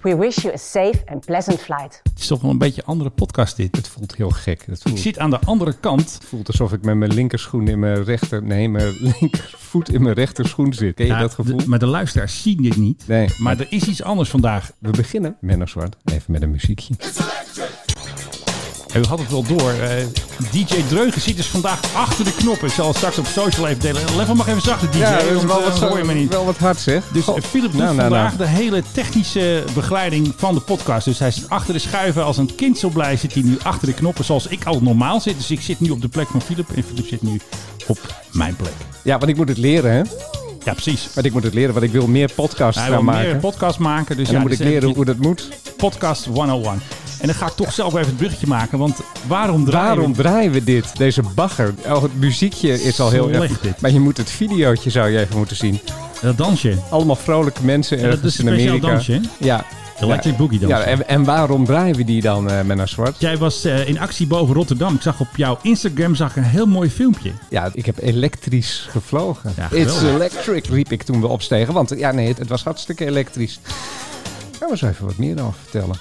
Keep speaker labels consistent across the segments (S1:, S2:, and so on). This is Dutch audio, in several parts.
S1: We wish you a safe and pleasant flight.
S2: Het is toch wel een beetje een andere podcast dit.
S3: Het voelt heel gek. Het
S2: Ik
S3: voelt,
S2: zit aan de andere kant.
S3: voelt alsof ik met mijn linkerschoen in mijn rechter... Nee, mijn linkervoet in mijn rechterschoen zit. Ken je
S2: Ja,
S3: dat gevoel?
S2: de- maar de luisteraars zien dit niet.
S3: Nee.
S2: Maar er is iets anders vandaag.
S3: We beginnen, Menno Zwart, even met een muziekje.
S2: En we hadden het wel door. eh, DJ Dreugen zit dus vandaag achter de knoppen. Ik zal het straks op social even delen. Level mag even zachter, DJ. want, eh, dan hoor je me niet.
S3: wel wat hard, zeg.
S2: Dus
S3: Goh.
S2: eh, Philip doet
S3: Nou, nou,
S2: vandaag
S3: nou.
S2: de hele technische begeleiding van de podcast. Dus hij zit achter de schuiven als een kind zo blij. Zit hij nu achter de knoppen zoals ik al normaal zit. Dus ik zit nu op de plek van Philip en Philip zit nu op mijn plek.
S3: Ja, want ik moet het leren, hè?
S2: Ja, precies.
S3: Want ik moet het leren, want ik wil meer podcasts
S2: Hij wil
S3: gaan maken.
S2: meer podcast maken. Dus
S3: en dan
S2: ja,
S3: moet
S2: dit
S3: ik
S2: is
S3: leren
S2: eventjes-
S3: hoe dat moet.
S2: Podcast 101. En dan ga ik toch zelf even het bruggetje maken. Want waarom draaien
S3: Waarom
S2: we-
S3: draaien we dit? Deze bagger. Oh, het muziekje is al heel
S2: Slecht
S3: erg.
S2: dit.
S3: Maar je moet het videootje zou je even moeten zien.
S2: dat dansje?
S3: Allemaal vrolijke mensen
S2: dat
S3: ergens
S2: is een
S3: in
S2: speciaal
S3: Amerika.
S2: dansje, hè?
S3: Ja.
S2: Electric
S3: ja.
S2: Boogie dansje.
S3: Ja, en, en waarom draaien we die dan, eh Menno Zwart?
S2: Jij was eh, in actie boven Rotterdam. Ik zag op jouw Instagram zag ik een heel mooi filmpje.
S3: Ja, ik heb elektrisch gevlogen.
S2: Ja, geweldig.
S3: It's electric, riep ik toen we opstegen. Want ja, nee, het, het was hartstikke elektrisch. Gaan we eens even wat meer dan vertellen.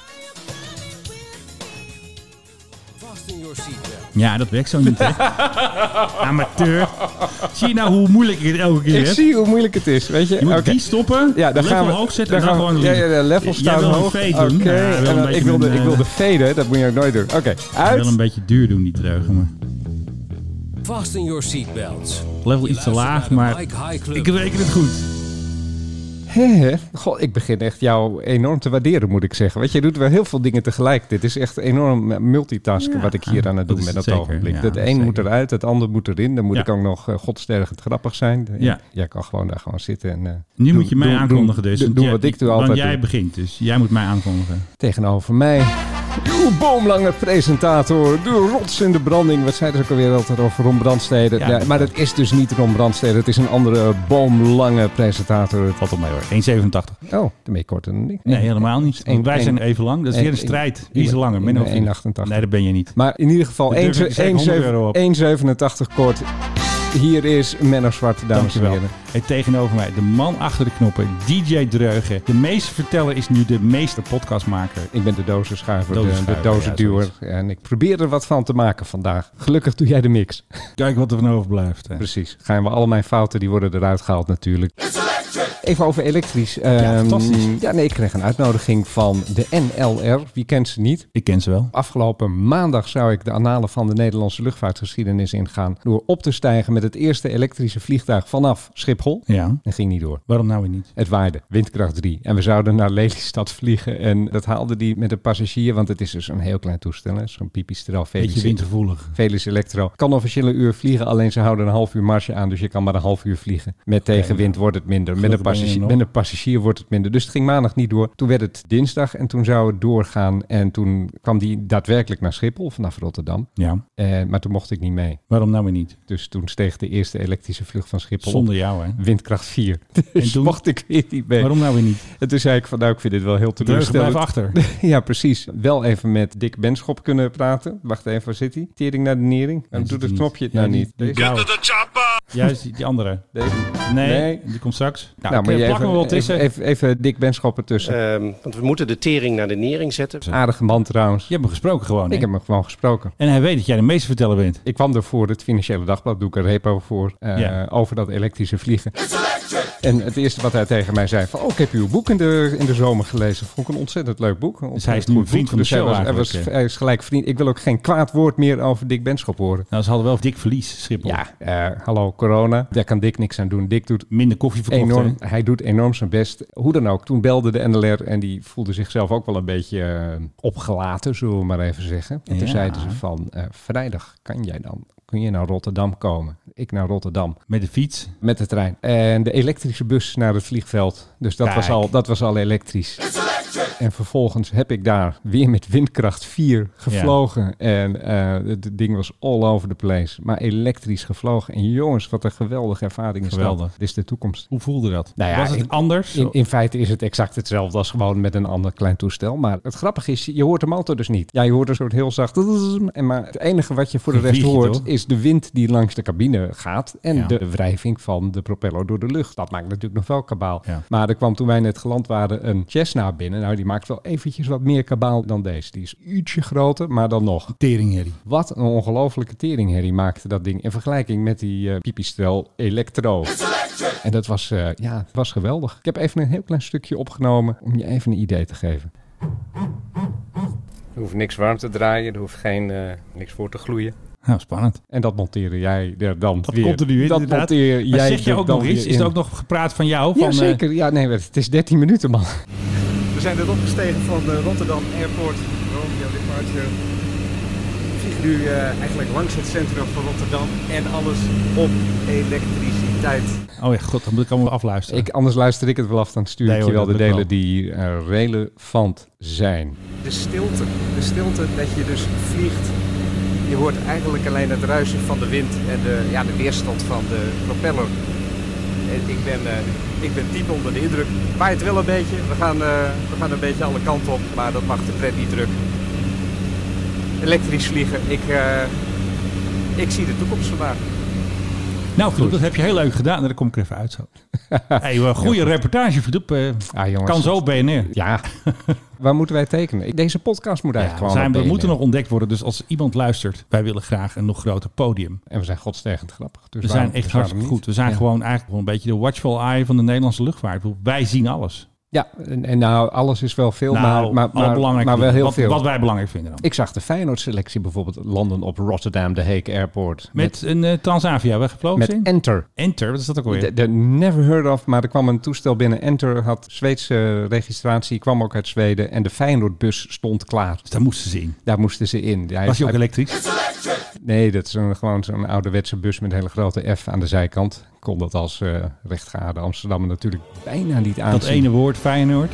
S2: Ja, dat werkt zo niet, hè? Amateur. Zie je nou hoe moeilijk ik het elke keer
S3: Ik
S2: heb?
S3: zie hoe moeilijk het is, weet je?
S2: Je moet
S3: Oké.
S2: die stoppen,
S3: Ja, dan
S2: level
S3: gaan we,
S2: hoog zetten en
S3: dan
S2: dan
S3: gaan we-
S2: gewoon...
S3: ja, ja, de level
S2: Jij
S3: staan
S2: wil
S3: hoog.
S2: een fade doen.
S3: Oké,
S2: Ja, hij wil
S3: en
S2: een
S3: dan- ik
S2: beetje
S3: wilde,
S2: een,
S3: ik
S2: eh,
S3: wilde faden, dat moet je ook nooit doen. Oké,
S2: Ik
S3: uit.
S2: wil een beetje duur doen, die dreugen. Maar.
S4: Fasten your seatbelts.
S2: Level iets te laag, maar
S4: Mike High Club.
S2: ik reken het goed.
S3: Hè, hè. Goh, ik begin echt jou enorm te waarderen, moet ik zeggen. Want je doet wel heel veel dingen tegelijk. Dit is echt enorm eh, multitasken
S2: Ja,
S3: wat ik hier aan het
S2: dat
S3: doen
S2: is
S3: ben
S2: het
S3: dat
S2: zeker.
S3: ogenblik.
S2: Ja,
S3: het
S2: dat
S3: een
S2: is
S3: moet
S2: zeker.
S3: eruit, het ander moet erin. Dan moet
S2: Ja.
S3: ik ook nog eh, godstergend grappig zijn. Eh,
S2: Ja.
S3: Jij kan gewoon daar gewoon zitten. En, eh,
S2: Nu
S3: doen-
S2: moet je mij
S3: doen-
S2: aankondigen
S3: doen-
S2: dus.
S3: Doen,
S2: want jij-
S3: wat ik doe
S2: want
S3: altijd.
S2: jij
S3: doe.
S2: begint dus. Jij moet mij aankondigen.
S3: Tegenover mij. Uw boomlange presentator, de rots in de branding. Wat zeiden ze ook alweer altijd over Ron Brandstede?
S2: Ja,
S3: Ja, maar dat is dus niet Ron Brandstede. Het is een andere boomlange presentator.
S2: Valt op mij hoor. 1,87.
S3: Oh, dan ben je korter dan ik.
S2: Nee, helemaal niet. Want
S3: Eén-
S2: wij
S3: één-
S2: zijn even lang. Dat is
S3: één-
S2: weer een
S3: één-
S2: strijd. Wie is er
S3: één-
S2: langer?
S3: één-
S2: Min of niet?
S3: 1,88.
S2: Nee, dat ben je niet.
S3: Maar in ieder geval
S2: Daar durf ik zeker 100 euro op.
S3: 1,87 kort. Hier is Menno Zwart, dames en
S2: Dankjewel.
S3: heren.
S2: En tegenover mij, de man achter de knoppen, DJ Dreugen. De meeste verteller is nu de meeste podcastmaker.
S3: Ik ben de dozenschuiver, de, de
S2: Dozenschuiver, ja,
S3: dozenduwer. en ik probeer er wat van te maken vandaag. Gelukkig doe jij de mix.
S2: Kijk wat er van overblijft. hè.
S3: Precies. Gaan we al mijn fouten, die worden eruit gehaald natuurlijk. Even over elektrisch.
S2: Ja,
S3: Ehm,
S2: fantastisch.
S3: Ja, nee, ik kreeg een uitnodiging van de NLR. Wie kent ze niet?
S2: Ik ken ze wel.
S3: Afgelopen maandag zou ik de analen van de Nederlandse luchtvaartgeschiedenis ingaan. door op te stijgen met het eerste elektrische vliegtuig vanaf Schiphol.
S2: Ja.
S3: En ging niet door.
S2: Waarom nou weer niet?
S3: Het waaide, windkracht 3. En we zouden naar Lelystad vliegen. En dat haalde die met een passagier, want het is dus een heel klein toestel. hè. Zo'n pipistrel,
S2: Beetje
S3: Felix,
S2: windgevoelig.
S3: Felix Electro. Kan officiële uur vliegen, alleen ze houden een half uur marge aan. Dus je kan maar een half uur vliegen. Met tegenwind wordt het minder. Met een,
S2: Gelukkig ben je er
S3: passagier,
S2: nog.
S3: met een passagier wordt het minder. Dus het ging maandag niet door. Toen werd het dinsdag en toen zou het doorgaan. En toen kwam die daadwerkelijk naar Schiphol vanaf Rotterdam.
S2: Ja.
S3: Eh, maar toen mocht ik niet mee.
S2: Waarom nou weer niet?
S3: Dus toen steeg de eerste elektrische vlucht van Schiphol. op
S2: Zonder jou, hè?
S3: Windkracht 4. Dus
S2: toen?
S3: mocht ik weer niet mee.
S2: Waarom nou weer niet?
S3: En toen zei ik van nou, ik vind dit wel heel
S2: Dreugen
S3: teleurstellend.
S2: blijf achter.
S3: Ja, precies. Wel even met Dick Benschop kunnen praten. Wacht even, waar zit hij? Tering naar de nering. Waarom
S2: zit
S3: doet het
S2: hij
S3: knopje het
S2: Ja,
S3: nou
S2: die-
S3: niet?
S2: die
S3: Deze?
S2: blauwe. Juist, die die andere.
S3: Deze?
S2: Nee,
S3: Nee.
S2: die komt straks. Nou,
S3: Nou, maar je
S2: plak
S3: even,
S2: me wel
S3: even,
S2: tussen.
S3: even, even Dick Benschop ertussen.
S5: Ehm, want we moeten de tering naar de nering zetten.
S3: Aardige man trouwens.
S2: Je hebt hem gesproken gewoon, hè?
S3: Ik heb hem gewoon gesproken.
S2: En hij weet dat jij de meeste verteller bent.
S3: Ik kwam ervoor, het Financiële Dagblad, doe ik een repo voor, eh,
S2: Ja.
S3: over dat elektrische vliegen. En het eerste wat hij tegen mij zei, van, oh, ik heb uw boek in de, in de zomer gelezen. Vond ik een ontzettend leuk boek. Een
S2: Dus hij is
S3: ontzettend
S2: nu
S3: goed
S2: vriend
S3: boek.
S2: van de
S3: Dus hij
S2: show
S3: was- hij
S2: eigenlijk,
S3: was-
S2: hè?
S3: hij is gelijk vriend. Ik wil ook geen kwaad woord meer over Dick Benschop horen.
S2: Nou, ze hadden wel dik verlies, Schiphol.
S3: Ja, eh, hallo corona. Daar kan Dick niks aan doen. Dick doet
S2: Minder koffie verkocht,
S3: enorm,
S2: hè?
S3: hij doet enorm zijn best. Hoe dan ook, toen belde de NLR en die voelde zichzelf ook wel een beetje eh, opgelaten, zullen we maar even zeggen. En toen
S2: Ja.
S3: zeiden ze van, eh, vrijdag kan jij dan, kun je naar Rotterdam komen? Ik naar Rotterdam
S2: Met de fiets.
S3: met de trein. En de elektrische bus naar het vliegveld. Dus dat,
S2: Kijk.
S3: was al, dat was al elektrisch. En vervolgens heb ik daar weer met windkracht 4 gevlogen. En eh, het ding was all over the place. Maar elektrisch gevlogen. En jongens, wat een geweldige ervaring is
S2: Geweldig.
S3: dat. Dit is de toekomst.
S2: Hoe voelde dat?
S3: Nou ja,
S2: Was het
S3: in-
S2: anders?
S3: In, in feite is het exact hetzelfde als gewoon met een ander klein toestel. Maar het grappige is, je hoort de motor dus niet. Ja, je hoort een soort heel zacht... En maar het enige wat je voor de
S2: Dan
S3: rest
S2: vlieg je,
S3: hoort
S2: toch?
S3: is de wind die langs de cabine gaat. En
S2: Ja.
S3: de wrijving van de propeller door de lucht. Dat maakt natuurlijk nog wel kabaal.
S2: Ja.
S3: Maar er kwam toen wij net geland waren een Cessna binnen. Nou, die maakt wel eventjes wat meer kabaal dan deze. Die is ietsje groter, maar dan nog.
S2: Teringherrie.
S3: Wat een ongelofelijke teringherrie maakte dat ding. In vergelijking met die eh, pipistrel Electro. En dat was, eh, ja, was geweldig. Ik heb even een heel klein stukje opgenomen om je even een idee te geven.
S6: Er hoeft niks warm te draaien, er hoeft geen, eh, niks voor te gloeien.
S2: Nou, spannend.
S3: En dat monteerde jij er dan
S2: Dat
S3: weer.
S2: komt er nu in,
S3: Dat
S2: inderdaad.
S3: monteer jij
S2: Maar zeg je
S3: er
S2: ook
S3: dan
S2: nog iets?
S3: weer
S2: Is er
S3: in.
S2: ook nog gepraat van jou? Van,
S3: Ja,
S2: eh,
S3: zeker. Ja, nee, het is 13 minuten, man.
S7: We zijn net opgestegen van de Rotterdam Airport Romeo Departure. We vliegen nu eh, eigenlijk langs het centrum van Rotterdam en alles op elektriciteit.
S2: oh ja, god, dan moet ik allemaal afluisteren.
S3: Ik, anders luister ik het wel af, dan stuur
S2: Nee,
S3: ik je
S2: hoor,
S3: wel de
S2: dat
S3: delen
S2: lukt
S3: die eh, relevant zijn.
S7: De stilte, de stilte dat je dus vliegt. Je hoort eigenlijk alleen het ruisen van de wind en de, ja, de weerstand van de propeller. En ik, ben, eh, ik ben diep onder de indruk. Waait wel een beetje. We gaan, eh, we gaan een beetje alle kanten op, maar dat mag de pret niet druk. Elektrisch vliegen. Ik, eh, ik zie de toekomst vandaag.
S2: nou, Filip, dat heb je heel leuk gedaan. Nou, Daar kom ik er even uit zo. hey, eh, goede reportage, Filip. eh,
S3: Ah, jongens.
S2: kan zo BNR.
S3: Ja. Waar moeten wij tekenen? Deze podcast moet
S2: Ja, we,
S3: eigenlijk
S2: zijn,
S3: gewoon
S2: we
S3: op
S2: moeten
S3: BNR.
S2: nog ontdekt worden. Dus als iemand luistert, wij willen graag een nog groter podium.
S3: En we zijn godstergend grappig. Dus
S2: We
S3: waarom-
S2: zijn echt
S3: dus waarom
S2: hartstikke
S3: niet?
S2: goed. We zijn
S3: Ja.
S2: gewoon eigenlijk wel een beetje de watchful eye van de Nederlandse luchtvaart. Ik bedoel, Wij zien alles.
S3: Ja, en, en nou, alles is wel veel,
S2: Nou,
S3: maar, maar,
S2: alle
S3: maar,
S2: belangrijke
S3: maar wel
S2: dingen.
S3: heel
S2: wat,
S3: veel.
S2: Wat wij belangrijk vinden dan.
S3: Ik zag de Feyenoord-selectie bijvoorbeeld landen op Rotterdam, de Heek Airport.
S2: Met een eh, Transavia, we gevlogen
S3: met
S2: zijn?
S3: Enter.
S2: Enter, wat is dat ook alweer?
S3: De, de never heard of, maar er kwam een toestel binnen. Enter had Zweedse registratie, kwam ook uit Zweden. En de Feyenoordbus stond klaar.
S2: Dus daar moesten ze in.
S3: Daar moesten ze in. Hij-
S2: Was hij ook
S3: hij-
S2: elektrisch?
S3: Nee, dat is een, gewoon zo'n ouderwetse bus met een hele grote F aan de zijkant. Kon dat als eh rechtgeaarde Amsterdammer natuurlijk bijna niet aanzien.
S2: Dat ene woord, Feyenoord.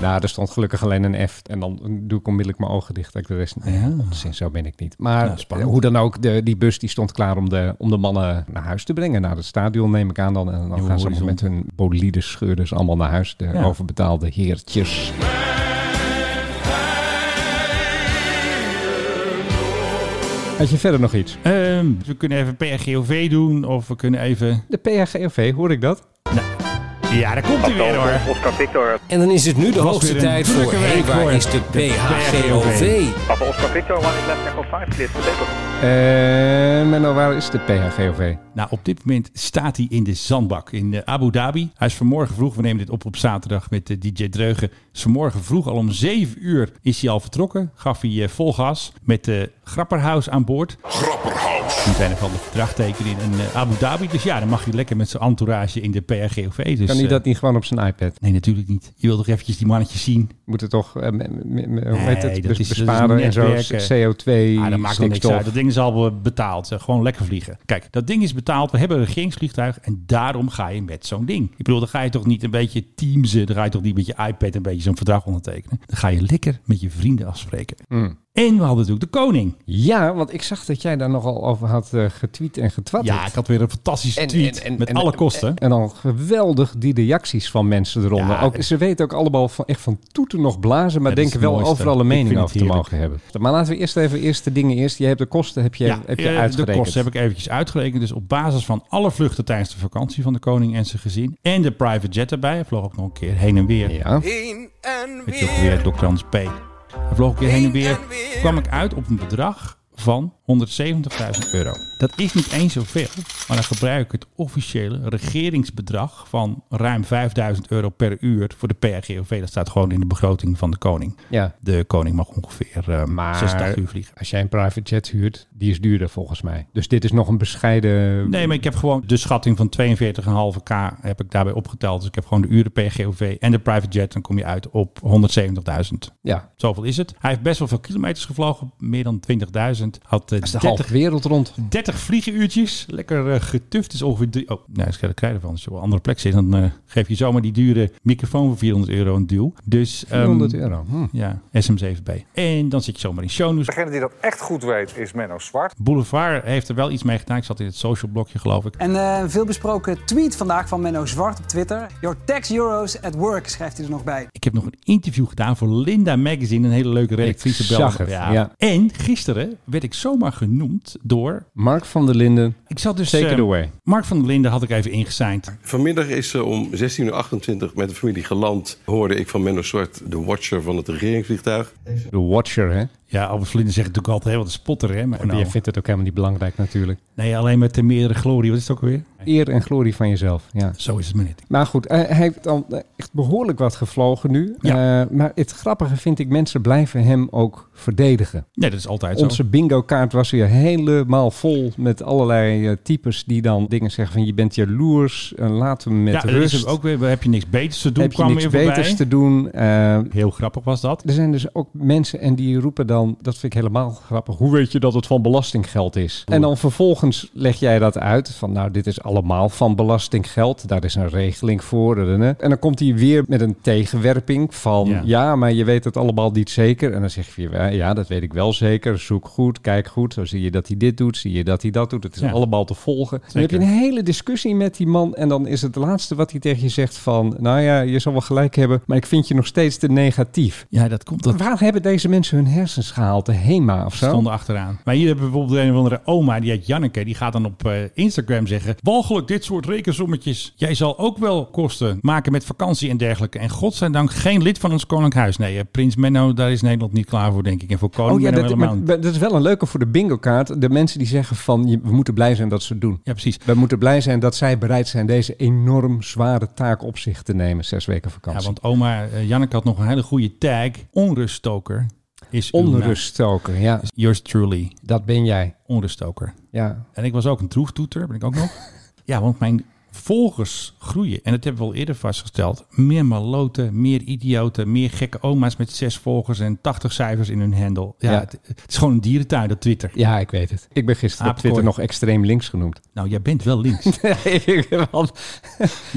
S3: Nou, er stond gelukkig alleen een F. En dan doe ik onmiddellijk mijn ogen dicht. Dat ik de rest niet.
S2: Ja.
S3: Sinds zo ben ik niet. Maar
S2: Nou, spannend.
S3: eh, hoe dan ook, de, die bus die stond klaar om de, om de mannen naar huis te brengen. Naar het stadion neem ik aan dan. En dan gaan ze allemaal
S2: horizon.
S3: met hun bolide scheurders allemaal naar huis. De
S2: Ja.
S3: overbetaalde heertjes. Had je verder nog iets?
S2: Ehm, dus we kunnen even PRGOV doen of we kunnen even...
S3: De PHGOV, hoor ik dat?
S2: Ja, daar komt hij weer hoor.
S8: Oscar Victor,
S4: En dan is het nu de
S2: was
S4: hoogste
S2: weer een
S4: tijd voor
S2: drukke
S4: Hé,
S2: week voor
S4: waar is de
S2: de
S4: PHGOV?
S8: Papa Oscar Victor, one is left echo 5, clear for takeoff.
S3: En Eh, Menno, waar is de PHGOV?
S2: Nou, op dit moment staat hij in de zandbak in eh, Abu Dhabi. Hij is vanmorgen vroeg, we nemen dit op op zaterdag met eh, DJ Dreugen. Is vanmorgen vroeg al om 7 uur is hij al vertrokken. Gaf hij eh, vol gas met de Grapperhaus aan boord. Grapperhaus. Die zijn er van de verdrag tekenen in eh, Abu Dhabi. Dus ja, dan mag je lekker met zijn entourage in de PRGOV. Dus,
S3: Kan hij
S2: eh,
S3: dat niet gewoon op zijn iPad?
S2: Nee, natuurlijk niet. Je wil toch eventjes die mannetjes zien?
S3: Moet het toch, eh, me- me- me- hoe
S2: Nee, dat
S3: heet het,
S2: is- dat
S3: dus
S2: is
S3: besparen en zo,
S2: netwerken.
S3: CO2,
S2: Ah, dat maakt wel niks
S3: stikstof.
S2: uit. Dat ding is al eh, betaald. Zeg, Gewoon lekker vliegen. Kijk, dat ding is betaald. We hebben een regeringsvliegtuig. En daarom ga je met zo'n ding. Ik bedoel, dan ga je toch niet een beetje teamsen. Dan ga je toch niet met je iPad een beetje zo'n verdrag ondertekenen. Dan ga je lekker met je vrienden afspreken.
S3: Hmm.
S2: En we hadden natuurlijk de koning.
S3: Ja, want ik zag dat jij daar nogal over had eh, getweet en getwatterd.
S2: ja, ik had weer een fantastische
S3: En-
S2: tweet.
S3: en- en-
S2: met
S3: en-
S2: alle
S3: en-
S2: kosten.
S3: En dan geweldig die reacties van mensen eronder.
S2: Ja,
S3: ook,
S2: het-
S3: ze weten ook allemaal van, echt van toeten nog blazen, maar
S2: Ja, dat is
S3: denken
S2: het
S3: wel
S2: mooiste.
S3: overal een
S2: Ik
S3: mening
S2: vind het
S3: over te mogen hebben. Maar laten we eerst even eerst de dingen eerst. Je hebt de kosten heb je, heb je
S2: eh,
S3: uitgerekend.
S2: De kosten heb ik eventjes uitgerekend. Dus op basis van alle vluchten tijdens de vakantie van de koning en zijn gezin. En de private jet erbij. Hij vloog ook nog een keer heen en weer.
S3: Ja.
S2: Weet je ook weer, Dr. Hans P. Hij vloog ik weer heen en weer. Kwam ik uit op een bedrag van 170.000 euro. Dat is niet eens zoveel, maar dan gebruik ik het officiële regeringsbedrag van ruim 5.000 euro per uur voor de PRGOV. Dat staat gewoon in de begroting van de koning.
S3: ja.
S2: De koning mag ongeveer eh,
S3: Maar-
S2: 86 uur vliegen.
S3: Als jij een private jet huurt, die is duurder volgens mij. Dus dit is nog een bescheiden...
S2: Nee, maar ik heb gewoon de schatting van 42,5k heb ik daarbij opgeteld. Dus ik heb gewoon de uren PGOV en de private jet. Dan kom je uit op 170.000.
S3: Ja,
S2: Zoveel is het. Hij heeft best wel veel kilometers gevlogen. Meer dan 20.000. Had eh,
S3: dat is de halve
S2: 30,
S3: wereld rond.
S2: 30 vliegenuurtjes. Lekker eh, getuft. is ongeveer drie... Oh, nee, dat krijg je ervan. Als je op een andere plek zit, dan eh, geef je zomaar die dure microfoon voor 400 euro een duw. Dus... ehm,
S3: 400 euro. Hm.
S2: Ja, SM7B. En dan zit je zomaar in shownews.
S9: Degene die dat echt goed weet is Menno Zwart.
S2: Boulevard heeft er wel iets mee gedaan. Ik zat in het social blokje, geloof ik.
S10: En eh, een veelbesproken tweet vandaag van Menno Zwart op Twitter. Your tax euros at work, schrijft hij er nog bij.
S2: Ik heb nog een interview gedaan voor Linda Magazine. Een hele leuke redactrice
S3: Ik zag
S2: België.
S3: het, ja.
S2: En gisteren werd ik zomaar zomaar genoemd door...
S3: Mark van der Linden.
S2: Ik zat dus...
S3: Take it
S2: eh,
S3: away.
S2: Mark van der Linden had ik even ingezijnd.
S11: Vanmiddag is er om 16.28 uur met de familie geland. Hoorde ik van Menno Zwart, de watcher van het regeringsvliegtuig.
S3: De Watcher, hè?
S2: Ja, Albert Vlinder zegt natuurlijk altijd, hè, wat een spotter, hè? Maar
S3: Maar
S2: nou,
S3: je vindt het ook helemaal niet belangrijk natuurlijk.
S2: nee, alleen met de meerdere glorie. Wat is het ook weer?
S3: Eer en glorie van jezelf, ja.
S2: Zo is het maar niet.
S3: Maar goed, eh, hij heeft al eh, echt behoorlijk wat gevlogen nu. Eh, maar het grappige vind ik, mensen blijven hem ook verdedigen.
S2: Nee, dat is altijd zo.
S3: Onze bingo-kaart was weer helemaal vol met allerlei eh, types die dan dingen zeggen van je bent jaloers, eh, laat hem met
S2: ja, er
S3: rust.
S2: is ook weer, heb je niks beters te doen,
S3: heb je
S2: kwam
S3: niks
S2: weer voorbij.
S3: beters te doen. Eh,
S2: Heel grappig was dat.
S3: er zijn dus ook mensen en die roepen dan, dat vind ik helemaal grappig, hoe weet je dat het van belastinggeld is? En dan vervolgens leg jij dat uit van nou, dit is allemaal van belastinggeld, daar is een regeling voor. eh, eh. En dan komt hij weer met een tegenwerping van
S2: Ja.
S3: ja, maar je weet het allemaal niet zeker. En dan zeg je weer, ja, dat weet ik wel zeker, zoek goed, kijk goed, zo zie je dat hij dit doet, zie je dat hij dat doet, het is
S2: Ja.
S3: allemaal te volgen. Dan heb
S2: Zeker.
S3: je een hele discussie met die man en dan is het laatste wat hij tegen je zegt van, nou ja, je zal wel gelijk hebben, maar ik vind je nog steeds te negatief.
S2: Ja, dat komt. Dat
S3: Waar hebben deze mensen hun hersens gehaald? De HEMA of zo?
S2: stonden achteraan. Maar hier hebben we bijvoorbeeld een of andere oma, die heet Janneke. Die gaat dan op eh, Instagram zeggen... Walgelijk dit soort rekensommetjes. Jij zal ook wel kosten maken met vakantie en dergelijke. En godzijdank geen lid van ons koninklijk huis. Nee, eh, prins Menno, daar is Nederland niet klaar voor, denk ik. En voor koning
S3: Oh ja,
S2: Menno
S3: dat,
S2: helemaal
S3: maar-
S2: niet.
S3: maar dat is wel een leuke voor de bingo-kaart. De mensen die zeggen van, je- we moeten blij zijn dat ze het doen.
S2: Ja, precies.
S3: We moeten blij zijn dat zij bereid zijn deze enorm zware taak op zich te nemen. Zes weken
S2: Ja,
S3: vakantie.
S2: want oma eh, Janneke had nog een hele goede tag. Onruststoker is uw
S3: Onruststoker, ja.
S2: naam. Yours truly,
S3: Dat ben jij.
S2: onruststoker.
S3: Ja.
S2: En ik was ook een troeftoeter, ben ik ook nog. ja, want mijn volgers groeien. En dat hebben we al eerder vastgesteld. Meer maloten, meer idioten, meer gekke oma's met zes volgers en 80 cijfers in hun handle. Ja,
S3: Ja.
S2: Het, het is gewoon een dierentuin, dat Twitter.
S3: ja, ik weet het. Ik ben gisteren op
S2: Aapkooi.
S3: Twitter nog extreem links genoemd.
S2: Nou, jij bent wel links.
S3: Ik ben wel-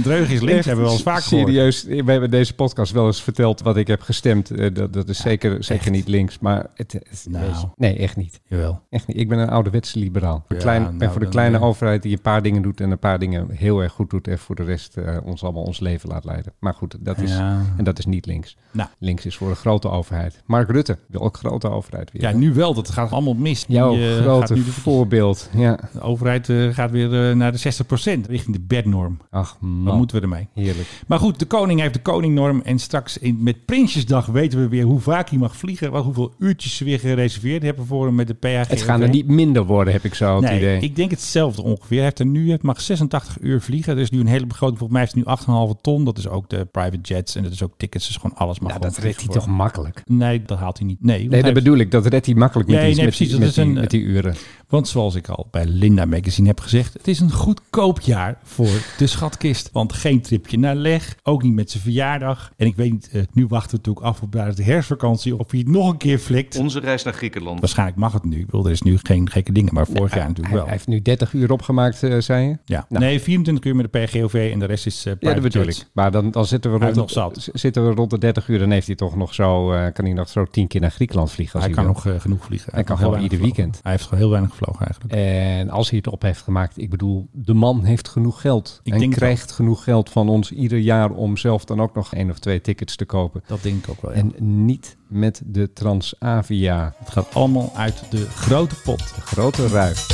S2: Dreug is links,
S3: Echt
S2: hebben we wel eens vaak gehoord.
S3: Serieus, we hebben deze podcast wel eens verteld wat ik heb gestemd. Eh, Dat, dat is zeker, zeker niet links, maar het, het-
S2: Nou.
S3: nee, echt niet.
S2: Jawel.
S3: Echt niet. Ik ben een ouderwetse liberaal. Voor
S2: Ja,
S3: klein,
S2: nou,
S3: ben voor de
S2: dan,
S3: kleine
S2: eh.
S3: overheid die een paar dingen doet en een paar dingen heel erg goed doet en voor de rest eh, ons allemaal ons leven laat leiden. Maar goed, dat is,
S2: Ja.
S3: en dat is niet links.
S2: Nou.
S3: Links is voor een grote overheid. Mark Rutte wil ook grote overheid weer.
S2: Ja, nu wel. Dat gaat allemaal mis. Die,
S3: Jouw
S2: eh, gaat
S3: grote
S2: nu de,
S3: voorbeeld. Ja.
S2: de overheid eh, gaat weer eh, naar de 60% richting de bednorm.
S3: Ach
S2: Wat
S3: man,
S2: moeten we ermee?
S3: heerlijk.
S2: Maar goed, de koning heeft de koningnorm. En straks in, met Prinsjesdag weten we weer hoe vaak hij mag vliegen. Wat, hoeveel uurtjes ze weer gereserveerd hebben voor hem met de PHG.
S3: Het gaan er niet minder worden, heb ik zo het
S2: Nee,
S3: idee.
S2: ik denk hetzelfde ongeveer. Hij heeft er nu, het mag 86 uur vliegen. Er is nu een hele begroting. Volgens mij heeft hij nu 8,5 ton. Dat is ook de private jets en dat is ook tickets. Dus gewoon alles mag
S3: Nou,
S2: gewoon
S3: dat redt hij
S2: vliegen
S3: toch makkelijk?
S2: worden. Nee, dat haalt hij niet. Nee, want,
S3: Nee,
S2: hij
S3: dat bedoel ik. Dat redt hij makkelijk met,
S2: Nee,
S3: die,
S2: nee,
S3: met, die-
S2: precies, dat
S3: met,
S2: is
S3: die,
S2: een,
S3: met die uren.
S2: want zoals ik al bij Linda Magazine heb gezegd, het is een goedkoop jaar voor de schatkist. Want geen tripje naar leg, ook niet met zijn verjaardag. En ik weet niet, eh, nu wachten we natuurlijk af op daar de herfstvakantie of hij het nog een keer flikt.
S12: Onze reis naar Griekenland.
S2: Waarschijnlijk mag het nu. Ik bedoel, er is nu geen gekke dingen, maar vorig jaar natuurlijk
S3: Hij,
S2: wel.
S3: hij heeft nu 30 uur opgemaakt, eh, zei je?
S2: ja.
S3: Nou.
S2: Nee, 24 uur met de PGOV en de rest is eh
S3: Ja, dat
S2: private
S3: bedoel
S2: jets.
S3: ik. Maar dan, dan zitten, we
S2: Hij
S3: rond
S2: is
S3: de,
S2: nog zat.
S3: z- zitten we rond de 30 uur. Dan heeft hij toch nog zo, eh, kan hij nog zo tien keer naar Griekenland vliegen. Als
S2: Hij
S3: hij,
S2: kan
S3: wil.
S2: nog eh, genoeg vliegen.
S3: Hij
S2: heeft
S3: kan
S2: nog heel
S3: gewoon
S2: weinig
S3: ieder
S2: gevlogen.
S3: weekend.
S2: Hij heeft gewoon heel weinig gevlogen eigenlijk.
S3: En als hij het op heeft gemaakt, ik bedoel, de man heeft genoeg geld.
S2: Ik
S3: en
S2: denk het
S3: krijgt genoeg geld van ons ieder jaar om zelf dan ook nog één of twee tickets te kopen.
S2: Dat denk ik ook wel, ja.
S3: En niet met de Transavia.
S2: Het gaat allemaal uit de grote pot.
S3: De grote ruif.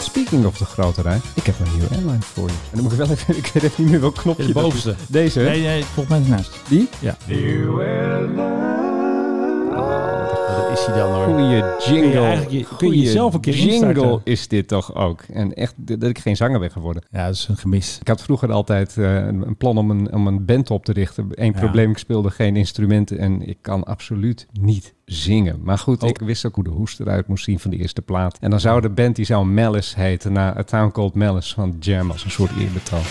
S3: Speaking of de grote ruif, ik heb een nieuwe airline voor je. En dan moet ik wel even, ik weet even niet meer welk knopje
S2: De
S3: dat is.
S2: bovenste.
S3: Deze, hè?
S2: Nee, nee, volgens mij is het naast.
S3: die?
S2: Ja. Dat is hij dan hoor.
S3: Goeie
S2: Eh, Kun je
S3: jingle.
S2: eigenlijk je- kun je
S3: Goeie
S2: jezelf een keer
S3: jingle
S2: instarten.
S3: is dit toch ook. En echt d- dat ik geen zanger ben geworden.
S2: Ja, dat is een gemis.
S3: Ik had vroeger altijd eh, een, een plan om een, om een band op te richten. Eén
S2: Ja.
S3: probleem, ik speelde geen instrumenten en ik kan absoluut niet zingen. Maar goed,
S2: Oh.
S3: ik wist ook hoe de hoest eruit moest zien van de eerste plaat. En dan zou de band, die zou Malice heten, na A Town Called Malice van Jam als een soort eerbetoon.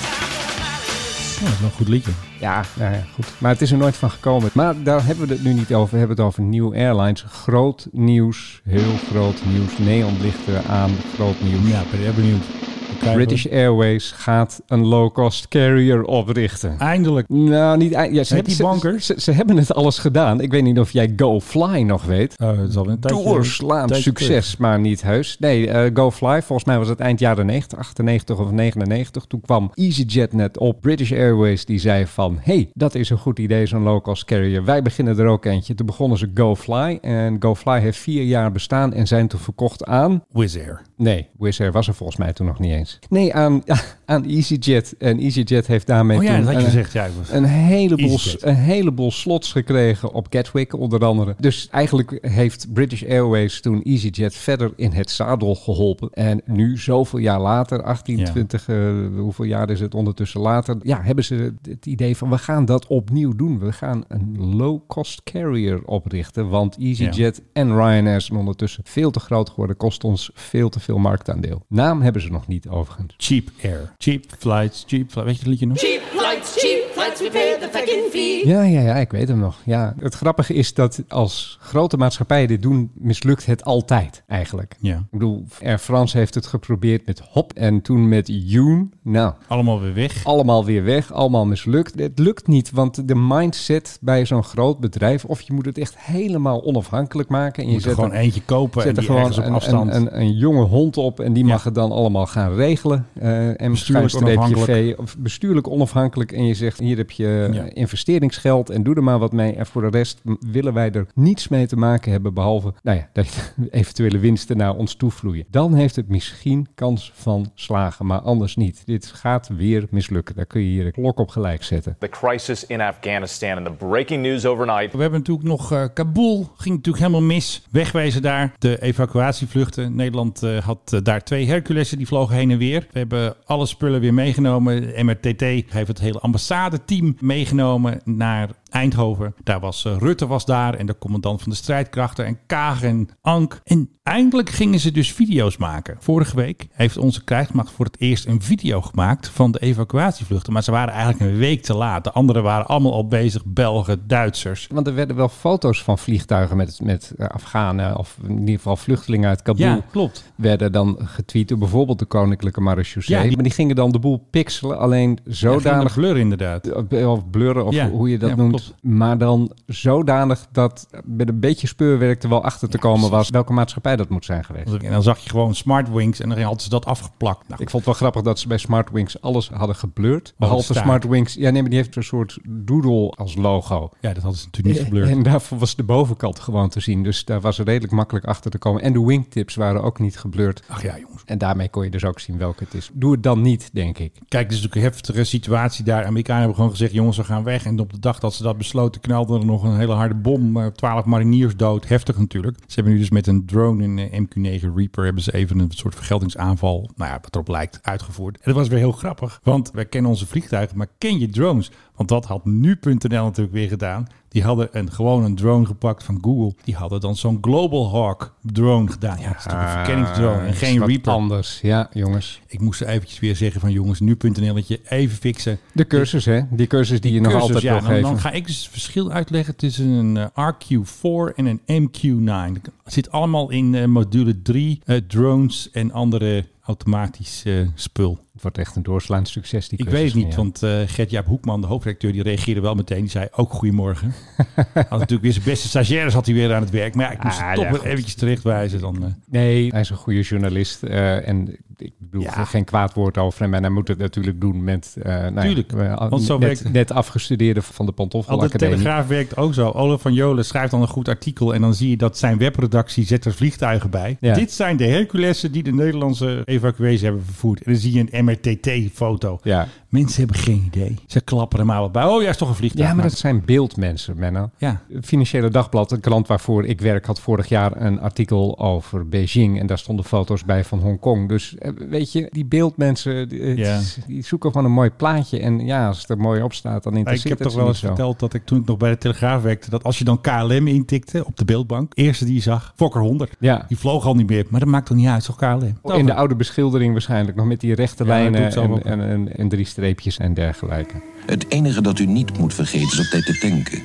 S2: Ja, dat is wel een goed liedje.
S3: Ja, nou ja, goed. Maar het is er nooit van gekomen. Maar daar hebben we het nu niet over. We hebben het over New Airlines. Groot nieuws. Heel groot nieuws. Neonlichten aan. Groot nieuws.
S2: Ja, ben je benieuwd.
S3: Ik
S2: krijgen.
S3: British Airways gaat een low-cost carrier oprichten.
S2: Eindelijk.
S3: Nou, niet eind- ja,
S2: Met
S3: ze, hebben,
S2: die
S3: ze, ze, ze hebben het alles gedaan. Ik weet niet of jij GoFly nog weet.
S2: Oh, dat is al een tijdje-
S3: Doorslaand
S2: tijdje
S3: succes, maar niet heus. Nee, eh, GoFly, volgens mij was het eind jaren 90, 98 of 99. Toen kwam EasyJet net op. British Airways die zei van... hey, dat is een goed idee, zo'n low-cost carrier. Wij beginnen er ook eentje. Toen begonnen ze GoFly. En GoFly heeft vier jaar bestaan en zijn toen verkocht aan...
S2: Wizz Air.
S3: Nee, Wizz Air was er volgens mij toen nog niet eens. Nee, aan, aan EasyJet. En EasyJet heeft daarmee
S2: Oh ja,
S3: toen
S2: dat had je
S3: een- eh,
S2: gezegd. Ja, ik was-
S3: een heleboel,
S2: EasyJet.
S3: een heleboel slots gekregen op Gatwick onder andere. Dus eigenlijk heeft British Airways toen EasyJet verder in het zadel geholpen. En nu, zoveel jaar later, 18,
S2: Ja.
S3: 20, eh, hoeveel jaar is het ondertussen later? Ja, hebben ze het idee van we gaan dat opnieuw doen. We gaan een low-cost carrier oprichten. Want EasyJet en Ryanair zijn ondertussen veel te groot geworden. Kost ons veel te veel marktaandeel. Naam hebben ze nog niet overigens.
S2: Cheap Air. Cheap flights, cheap flights. Weet je het liedje nog?
S12: Cheap flights, cheap flights, we pay the fucking fee.
S3: Ja, ja, ja, ik weet hem nog. Ja. Het grappige is dat als grote maatschappijen dit doen, mislukt het altijd eigenlijk.
S2: Ja.
S3: Ik bedoel, Air France heeft het geprobeerd met Hop en toen met Yoon. Nou,
S2: Allemaal weer weg.
S3: allemaal weer weg, allemaal mislukt. Het lukt niet, want de mindset bij zo'n groot bedrijf, of je moet het echt helemaal onafhankelijk maken. En
S2: Je moet er
S3: zet
S2: gewoon
S3: er-
S2: eentje kopen en
S3: Zet er
S2: die
S3: gewoon
S2: ergens op
S3: een,
S2: afstand.
S3: Een, een, een jonge hond op en die mag het dan allemaal gaan regelen. Eh en
S2: onafhankelijk.
S3: v of bestuurlijk onafhankelijk. En je zegt, hier heb je
S2: Ja.
S3: eh, investeringsgeld en doe er maar wat mee. En voor de rest m- willen wij er niets mee te maken hebben, behalve nou ja, dat eventuele winsten naar ons toe vloeien. Dan heeft het misschien kans van slagen, maar anders niet. Dit gaat weer mislukken. Daar kun je hier de klok op gelijk zetten.
S13: The crisis in Afghanistan and the breaking news overnight.
S2: We hebben natuurlijk nog eh, Kabul. Ging natuurlijk helemaal mis. Wegwezen daar. De evacuatievluchten. Nederland eh, had eh, daar twee Herculessen. Die vlogen heen en weer. We hebben alle spullen weer meegenomen. De MRTT heeft het hele ambassadeteam meegenomen naar Eindhoven. Daar was eh, Rutte was daar. En de commandant van de strijdkrachten. En Kaag en Ank. En eindelijk gingen ze dus video's maken. Vorige week heeft onze krijgsmacht voor het eerst een video gemaakt van de evacuatievluchten. Maar ze waren eigenlijk een week te laat. De anderen waren allemaal al bezig. Belgen, Duitsers.
S3: Want er werden wel foto's van vliegtuigen met, met eh, Afghanen of in ieder geval vluchtelingen uit Kabul.
S2: Ja, klopt.
S3: werden dan getweet door bijvoorbeeld de Koninklijke Marechaussee.
S2: Ja, die-
S3: Maar die gingen dan de boel pixelen, alleen
S2: Zodanig
S3: zodanig...
S2: blur inderdaad.
S3: of blurren, of
S2: Ja,
S3: hoe je dat
S2: ja,
S3: noemt.
S2: klopt.
S3: Maar dan zodanig dat met een beetje speurwerk er wel achter te komen was... welke maatschappij dat moet zijn geweest.
S2: En dan zag je gewoon Smartwings en dan hadden ze dat afgeplakt. Nou,
S3: Ik vond het wel grappig dat ze bij Smartwings alles hadden geblurred. Behalve
S2: staart.
S3: Smartwings. Ja, nee, maar die heeft een soort doodle als logo.
S2: ja, dat hadden ze natuurlijk niet geblurred.
S3: En daarvoor was de bovenkant gewoon te zien. Dus daar was er redelijk makkelijk achter te komen. En de wingtips waren ook niet geblurred.
S2: Ach ja, jongens.
S3: En daarmee kon je dus ook zien welke het is. Doe het dan niet, denk ik.
S2: Kijk, het is natuurlijk een heftige situatie daar. Amerikanen hebben gewoon gezegd, jongens, we gaan weg. En op de dag dat ze dat besloten, knalde er nog een hele harde bom. eh, 12 mariniers dood. Heftig natuurlijk. Ze hebben nu dus met een drone en eh, MQ-9 Reaper... hebben ze even een soort vergeldingsaanval, nou ja, wat erop lijkt, uitgevoerd. En dat was weer heel grappig. Want wij kennen onze vliegtuigen, maar ken je drones? Want dat had nu.nl natuurlijk weer gedaan. Die hadden een, gewoon een drone gepakt van Google. Die hadden dan zo'n Global Hawk drone gedaan. Ja, dat is natuurlijk een verkenningsdrone en
S3: Ah, is
S2: geen
S3: Eh, wat
S2: Reaper.
S3: anders, ja, jongens.
S2: Ik moest er eventjes weer zeggen van jongens, nu.nl-etje even fixen.
S3: De cursus, hè? Die cursus die, je nog
S2: Cursus,
S3: altijd
S2: ja,
S3: wil
S2: dan,
S3: geven.
S2: dan ga ik dus het verschil uitleggen tussen een eh, RQ4 en een MQ9. Het zit allemaal in eh, module 3, eh, drones en andere automatisch eh, spul.
S3: Het wordt echt een doorslaand succes, die
S2: Ik
S3: cursus.
S2: weet het niet,
S3: ja.
S2: want eh Gert-Jaap Hoekman, de hoofdredacteur, die reageerde wel meteen. Die zei ook goedemorgen. had natuurlijk weer zijn beste stagiaires had hij weer aan het werk. Maar ja, ik moest
S3: Ah,
S2: het toch
S3: ja,
S2: wel
S3: goed.
S2: eventjes terechtwijzen. Dan, eh,
S3: Nee, hij is een goede journalist. eh, en ik bedoel
S2: Ja.
S3: geen kwaad woord over hem. En hij moet het natuurlijk doen met... eh, nou ja,
S2: Tuurlijk,
S3: eh,
S2: want zo werkt-
S3: net, net afgestudeerde van de Pantoffel
S2: Altijd de
S3: Academie.
S2: Telegraaf werkt ook zo. Olaf van Jolen schrijft dan een goed artikel... en dan zie je dat zijn webredactie zet er vliegtuigen bij.
S3: Ja.
S2: Dit zijn de Herculessen die de Nederlandse evacuees hebben vervoerd. En dan zie je een MRTT-foto.
S3: Ja.
S2: Mensen hebben geen idee. Ze klappen er maar wat bij. Oh, ja, is toch een vliegtuig.
S3: Ja, maar
S2: Nou,
S3: dat zijn beeldmensen, Menno.
S2: Ja.
S3: Financiële Dagblad, een krant waarvoor ik werk, had vorig jaar een artikel over Beijing. En daar stonden foto's bij van Hongkong. Dus eh, weet je, die beeldmensen, die, eh,
S2: Ja.
S3: die zoeken gewoon een mooi plaatje. En ja, als het er mooi op staat, dan
S2: ik
S3: interesseert
S2: heb
S3: het
S2: toch wel eens
S3: ze niet zo.
S2: verteld dat ik toen ik nog bij de Telegraaf werkte... dat als je dan KLM intikte op de beeldbank... eerste die je zag, Fokker 100.
S3: Ja.
S2: Die vloog al niet meer. Maar dat maakt toch niet uit, toch KLM?
S3: Oh, In de oude beschildering waarschijnlijk, nog met die rechte
S2: Ja, dat doet
S3: lijnen
S2: ze allemaal
S3: en, en, en, en drie streepjes en dergelijke.
S14: Het enige dat u niet moet vergeten is op tijd te tanken.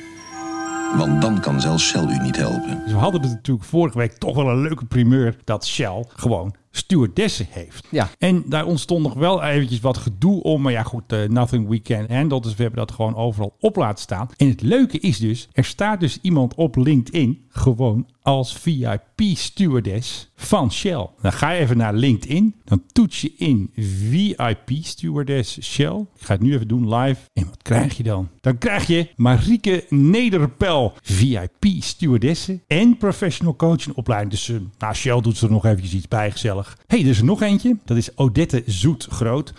S14: Want dan kan zelfs Shell u niet helpen.
S2: Dus we hadden het natuurlijk vorige week toch wel een leuke primeur dat Shell gewoon stewardessen heeft.
S3: Ja.
S2: En daar ontstond nog wel eventjes wat gedoe om. Maar ja, goed, eh, nothing we can handle. Dus we hebben dat gewoon overal op laten staan. En het leuke is dus, er staat dus iemand op LinkedIn gewoon als VIP stewardess van Shell. Dan ga je even naar LinkedIn. Dan toets je in VIP stewardess Shell. Ik ga het nu even doen live. En wat krijg je dan? Dan krijg je Marieke Nederpel, VIP stewardesse en professional coaching opleiding. Dus eh, nou, Shell doet ze er nog eventjes iets bij, gezellig. hey, er is er nog eentje. Dat is Odette Zoet Groot.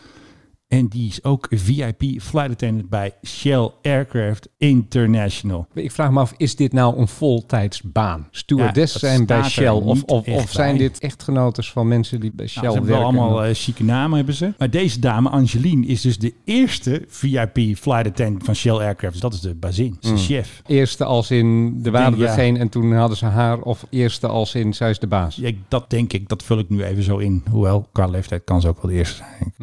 S2: En die is ook VIP flight attendant bij Shell Aircraft International.
S3: Ik vraag me af, is dit nou een voltijdsbaan? Stewardess
S2: Ja, dat
S3: zijn bij
S2: staat er
S3: Shell of,
S2: niet
S3: of,
S2: echt
S3: of zijn
S2: bij.
S3: dit echtgenotes van mensen die bij Shell
S2: Nou, ze hebben wel
S3: werken?
S2: allemaal eh, chique namen hebben ze. Maar deze dame, Angeline, is dus de eerste VIP flight attendant van Shell Aircraft. Dus dat is de bazin, zijn
S3: Mm.
S2: chef.
S3: Eerste als in, er waren
S2: denk,
S3: er
S2: ja.
S3: geen en toen hadden ze haar. Of eerste als in, zij is de baas.
S2: Ja, dat denk ik, dat vul ik nu even zo in. Hoewel, qua leeftijd kan ze ook wel de eerste zijn.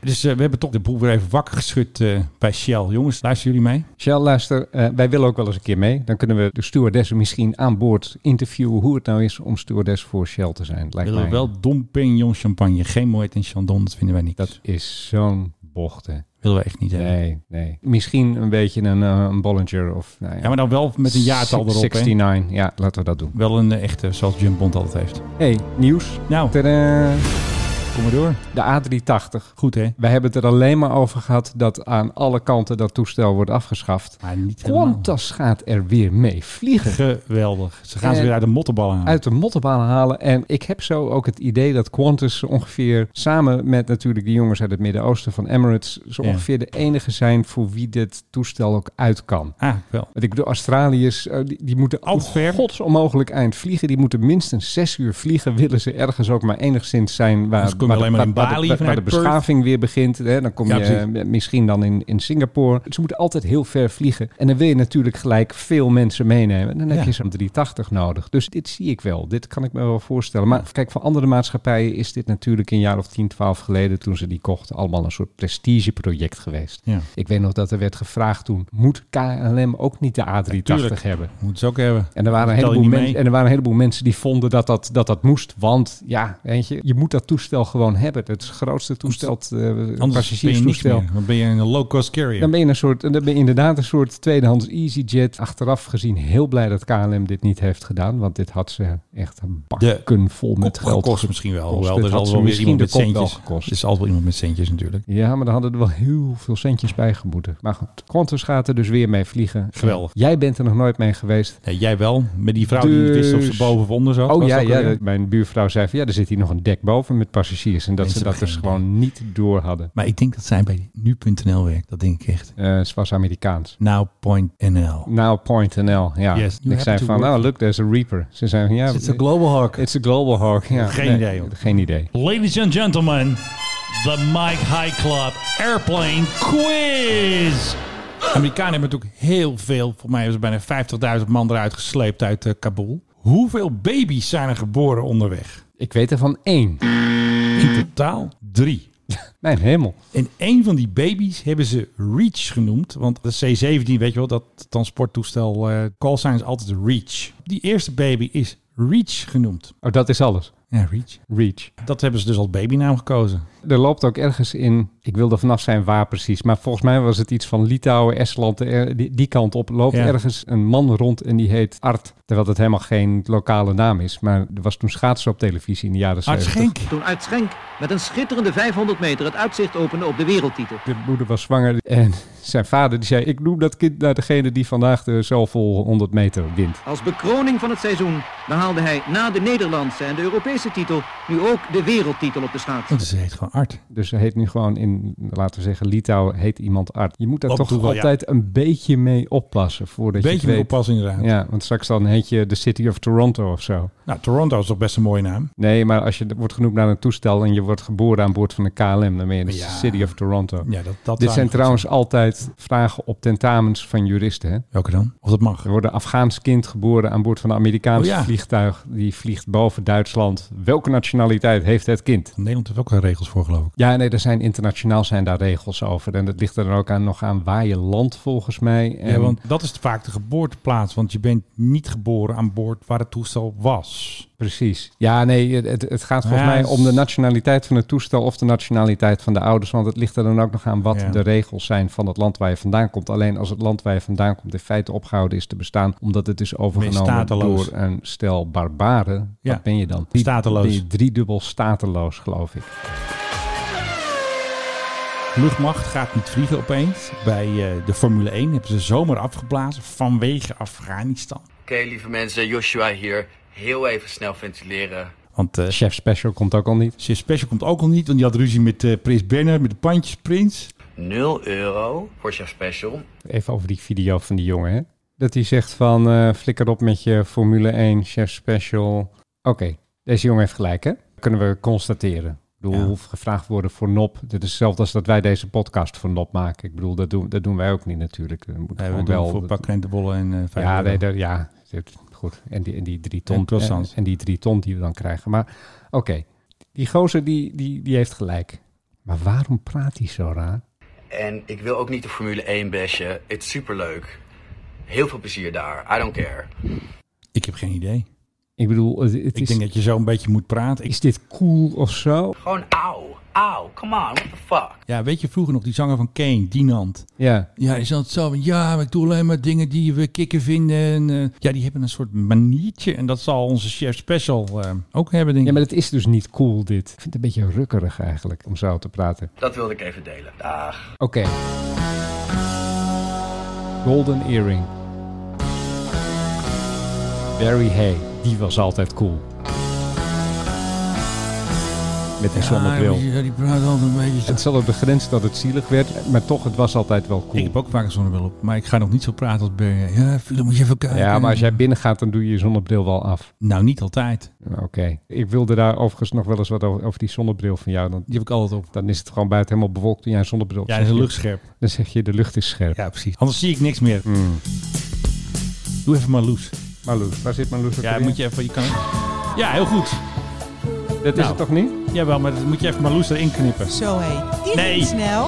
S2: Dus eh, we hebben toch de boel weer even wakker geschud eh, bij Shell. Jongens, luisteren jullie mee?
S3: Shell, luister, eh, wij willen ook wel eens een keer mee. Dan kunnen we de stewardessen misschien aan boord interviewen hoe het nou is om stewardess voor Shell te zijn. Lijkt
S2: Willen we
S3: mij.
S2: wel Dom Pignon champagne, geen Moet en Chandon, dat vinden wij niet. Dat
S3: is zo'n bochten.
S2: Willen we echt niet hebben.
S3: Nee, nee. Misschien een beetje een, eh, een Bollinger of... Nou ja.
S2: Ja, maar dan wel met een jaartal erop, hè?
S3: 69, ja, laten we dat doen.
S2: Wel een eh, echte, zoals Jim Bond altijd heeft.
S3: hey, nieuws.
S2: Nou.
S3: Tadaa.
S2: Kom maar door.
S3: De A380.
S2: Goed, hè?
S3: Wij hebben het er alleen maar over gehad dat aan alle kanten dat toestel wordt afgeschaft.
S2: Maar niet
S3: Qantas gaat er weer mee vliegen.
S2: Geweldig. Ze gaan ze
S3: Eh,
S2: weer uit de mottenbal aan.
S3: Uit de mottenbaan halen. En ik heb zo ook het idee dat Qantas ongeveer samen met natuurlijk die jongens uit het Midden-Oosten van Emirates. zo
S2: Ja.
S3: ongeveer de enige zijn voor wie dit toestel ook uit kan.
S2: Eigenlijk Ah, wel.
S3: Want ik bedoel, Australiërs, eh, die, die moeten al gods onmogelijk eind vliegen. Die moeten minstens zes uur vliegen. Willen ze ergens ook maar enigszins zijn waar,
S2: Anders kom je
S3: waar de-
S2: alleen maar in
S3: waar- waar de-
S2: Bali
S3: waar- waar de
S2: vanuit Perth.
S3: beschaving weer begint. Hè? Dan kom
S2: Ja,
S3: je
S2: precies.
S3: eh, misschien dan in, in Singapore. Ze moeten altijd heel ver vliegen. En dan wil je natuurlijk gelijk veel mensen meenemen. Dan heb
S2: Ja.
S3: je zo'n 380 nodig. Dus dit zie ik wel. Dit kan ik me wel voorstellen. Maar kijk, voor andere maatschappijen is dit natuurlijk een jaar of 10, 12 geleden... toen ze die kochten, allemaal een soort prestigeproject geweest.
S2: Ja.
S3: Ik weet nog dat er werd gevraagd toen... moet KLM ook niet de A380
S2: Tuurlijk.
S3: hebben?
S2: Moeten ze ook hebben.
S3: En er, waren een
S2: Tel je
S3: heleboel
S2: niet
S3: mensen,
S2: mee?
S3: en er waren een heleboel mensen die vonden dat dat, dat, dat moest. Want ja, weet je, je moet dat toestel gewoon hebben. Het is het grootste toestel, eh
S2: Anders ben je niks
S3: passagierstoestel.
S2: meer. Dan ben je een low-cost carrier.
S3: Dan ben, je een soort, dan ben je inderdaad een soort tweedehands EasyJet. Achteraf gezien heel blij dat KLM dit niet heeft gedaan. Want dit had ze echt bakken vol met
S2: Kop
S3: geld
S2: gekost misschien wel.
S3: gekost.
S2: Hoewel,
S3: Dit
S2: er is
S3: had
S2: altijd
S3: ze
S2: wel weer
S3: misschien
S2: iemand met
S3: de kop wel
S2: centjes. Dus-
S3: gekost.
S2: Er is altijd wel iemand met centjes natuurlijk.
S3: Ja, maar dan hadden er wel heel veel centjes bij geboeten. Maar goed, Qantas gaat er dus weer mee vliegen.
S2: Geweldig.
S3: Jij bent er nog nooit mee geweest.
S2: Nee, jij wel. Met die vrouw die niet wist of ze
S3: Dus-
S2: boven of onder zat.
S3: Oh
S2: Was
S3: ja,
S2: dat
S3: ja
S2: alweer?
S3: dat- mijn buurvrouw zei van ja, er zit hier nog een dek boven met passagiers. En dat
S2: Mensen
S3: ze dat
S2: hebben
S3: dus
S2: geen
S3: gewoon niet door hadden.
S2: Maar ik denk dat zij bij nu.nl werkt. Dat denk ik echt.
S3: Eh, ze was Amerikaans.
S2: Now.nl.
S3: Now.nl, ja.
S2: Yes, you
S3: ik
S2: have
S3: zei
S2: to
S3: van,
S2: work.
S3: oh look, there's a reaper. Ze zei van, ja... eh,
S2: It's a global hawk.
S3: It's a global hawk, ja.
S2: Geen
S3: Nee,
S2: idee, joh.
S3: Geen idee.
S2: Ladies and gentlemen, the Mike High Club Airplane Quiz. Amerikanen hebben natuurlijk heel veel, volgens mij hebben ze bijna 50.000 man eruit gesleept uit eh, Kabul. Hoeveel baby's zijn er geboren onderweg?
S3: Ik weet er van één.
S2: In totaal drie.
S3: Mijn hemel.
S2: En een van die baby's hebben ze Reach genoemd. Want de C-17, weet je wel, dat transporttoestel, eh call sign is altijd Reach. Die eerste baby is Reach genoemd.
S3: Oh, dat is alles.
S2: Ja, Reach.
S3: Reach.
S2: Dat hebben ze dus als babynaam gekozen.
S3: Er loopt ook ergens in, ik wil er vanaf zijn waar precies, maar volgens mij was het iets van Litouwen, Estland, er- die, die kant op, loopt
S2: Ja.
S3: ergens een man rond en die heet Art. Terwijl dat helemaal geen lokale naam is, maar er was toen schaatsen op televisie in de jaren
S2: Art
S3: 70.
S2: Schenk.
S15: Toen uit Schenk met een schitterende 500 meter het uitzicht opende op de wereldtitel.
S3: De moeder was zwanger en zijn vader die zei, ik noem dat kind naar degene die vandaag de zoveel 100 meter wint.
S15: Als bekroning van het seizoen behaalde hij na de Nederlandse en de Europese titel nu ook de wereldtitel op de schaatsen.
S2: Want ze heet gewoon Art.
S3: Dus ze heet nu gewoon in, laten we zeggen, Litouwen heet iemand Art. Je moet daar
S2: Op
S3: toch
S2: toeval, ja.
S3: altijd een beetje mee oppassen voordat je
S2: Beetje
S3: het weet.
S2: meer oppassen inderdaad.
S3: Ja, want straks dan heet je de City of Toronto of zo.
S2: Nou, Toronto is toch best een mooie naam.
S3: Nee, maar als je wordt genoemd naar een toestel en je wordt geboren aan boord van de KLM, dan ben je de
S2: Ja.
S3: City of Toronto.
S2: Ja, dat- dat
S3: Dit
S2: zou
S3: zijn
S2: goed
S3: trouwens altijd vragen op tentamens van juristen. Hè?
S2: Welke dan? Of dat mag.
S3: Er wordt een Afghaans kind geboren aan boord van een Amerikaans
S2: Oh ja.
S3: vliegtuig. Die vliegt boven Duitsland. Welke nationaliteit heeft het kind?
S2: Nederland heeft ook wel regels voor, geloof ik.
S3: Ja, nee, er zijn internationaal zijn daar regels over. En dat ligt er dan ook aan, nog aan waar je land volgens mij. En
S2: Ja, want dat is vaak de geboorteplaats. Want je bent niet geboren aan boord waar het toestel was.
S3: Precies. Ja, nee, het, het gaat volgens
S2: Ja,
S3: mij
S2: het is-
S3: om de nationaliteit van het toestel of de nationaliteit van de ouders. Want het ligt er dan ook nog aan wat
S2: Ja.
S3: de regels zijn van het land waar je vandaan komt. Alleen als het land waar je vandaan komt in feite opgehouden is te bestaan, omdat het is overgenomen
S2: stateloos.
S3: door een stel barbaren,
S2: Ja.
S3: wat ben je dan? Die-
S2: Stateloos.
S3: Ben je driedubbel stateloos, geloof ik.
S2: Luchtmacht gaat niet vliegen opeens. Bij eh, de Formule 1 hebben ze zomaar afgeblazen vanwege Afghanistan.
S16: Oké, lieve mensen, Joshua hier. Heel even snel ventileren.
S2: Want eh,
S3: Chef Special komt ook al niet.
S2: Chef Special komt ook al niet, want die had ruzie met eh Prins Bernhard, met de Pandjesprins.
S16: 0 euro voor Chef Special.
S3: Even over die video van die jongen, hè? Dat hij zegt van, eh, flikker op met je Formule 1 Chef Special. Oké, deze jongen heeft gelijk, hè? Kunnen we constateren. Ik bedoel, hoef gevraagd worden voor NOP. Dit is hetzelfde als dat wij deze podcast voor NOP maken. Ik bedoel, dat doen, dat doen wij ook niet natuurlijk. Dat moet
S2: we
S3: gewoon
S2: doen
S3: wel...
S2: voor een paar krentenbollen en eh vijf
S3: ja,
S2: euro.
S3: nee, dat- ja, dit- goed. En die, en die drie
S2: En
S3: ton.
S2: croissants.
S3: en die drie ton die we dan krijgen. Maar oké, die gozer die, die, die heeft gelijk. Maar waarom praat hij zo raar?
S16: En ik wil ook niet de Formule 1 bashen. Het is superleuk. Heel veel plezier daar. I don't care.
S2: Ik heb geen idee.
S3: Ik bedoel, het, het
S2: Ik
S3: is...
S2: denk dat je zo een beetje moet praten. Ik-
S3: Is dit cool of zo?
S16: Gewoon auw, auw. Come on, what the fuck.
S2: Ja, weet je vroeger nog die zanger van Kane, Dinant?
S3: Ja.
S2: Ja, is dat zo? van, Ja, maar ik doe alleen maar dingen die we kicken vinden. En, eh, ja, die hebben een soort maniertje. En dat zal onze chef special eh, ook hebben, denk ik.
S3: Ja, maar het is dus niet cool dit. Ik vind het een beetje rukkerig eigenlijk om zo te praten.
S16: Dat wilde ik even delen. Dag.
S3: Oké. Golden Earring. Barry Hay, die was altijd cool. Met een zonnebril.
S2: Ah, Ja, die praat altijd een beetje zo.
S3: Het zat op de grens dat het zielig werd, maar toch, het was altijd wel cool.
S2: Ik heb ook vaak een zonnebril op, maar ik ga nog niet zo praten als Bernie. Ja, Philip, moet je even kijken.
S3: Ja, maar als jij binnen gaat, dan doe je je zonnebril wel af.
S2: Nou, niet altijd.
S3: Oké. Ik wilde daar overigens nog wel eens wat over, over die zonnebril van jou. Dan,
S2: Die heb ik altijd op.
S3: dan is het gewoon buiten helemaal bewolkt en jij een zonnebril op.
S2: Ja, dat is
S3: Zeg
S2: een
S3: je-
S2: luchtscherp.
S3: Dan zeg je, de lucht is scherp.
S2: Ja, precies. Anders zie ik niks meer. Doe even Marloes.
S3: Marloes, waar zit Marloes?
S2: Ja, moet je even... Je kan... Ja, heel goed.
S3: Dat
S2: nou,
S3: is het toch niet?
S2: Jawel, maar dat moet je even Marloes erin knippen.
S17: Zo hé.
S2: Nee.
S17: Snel.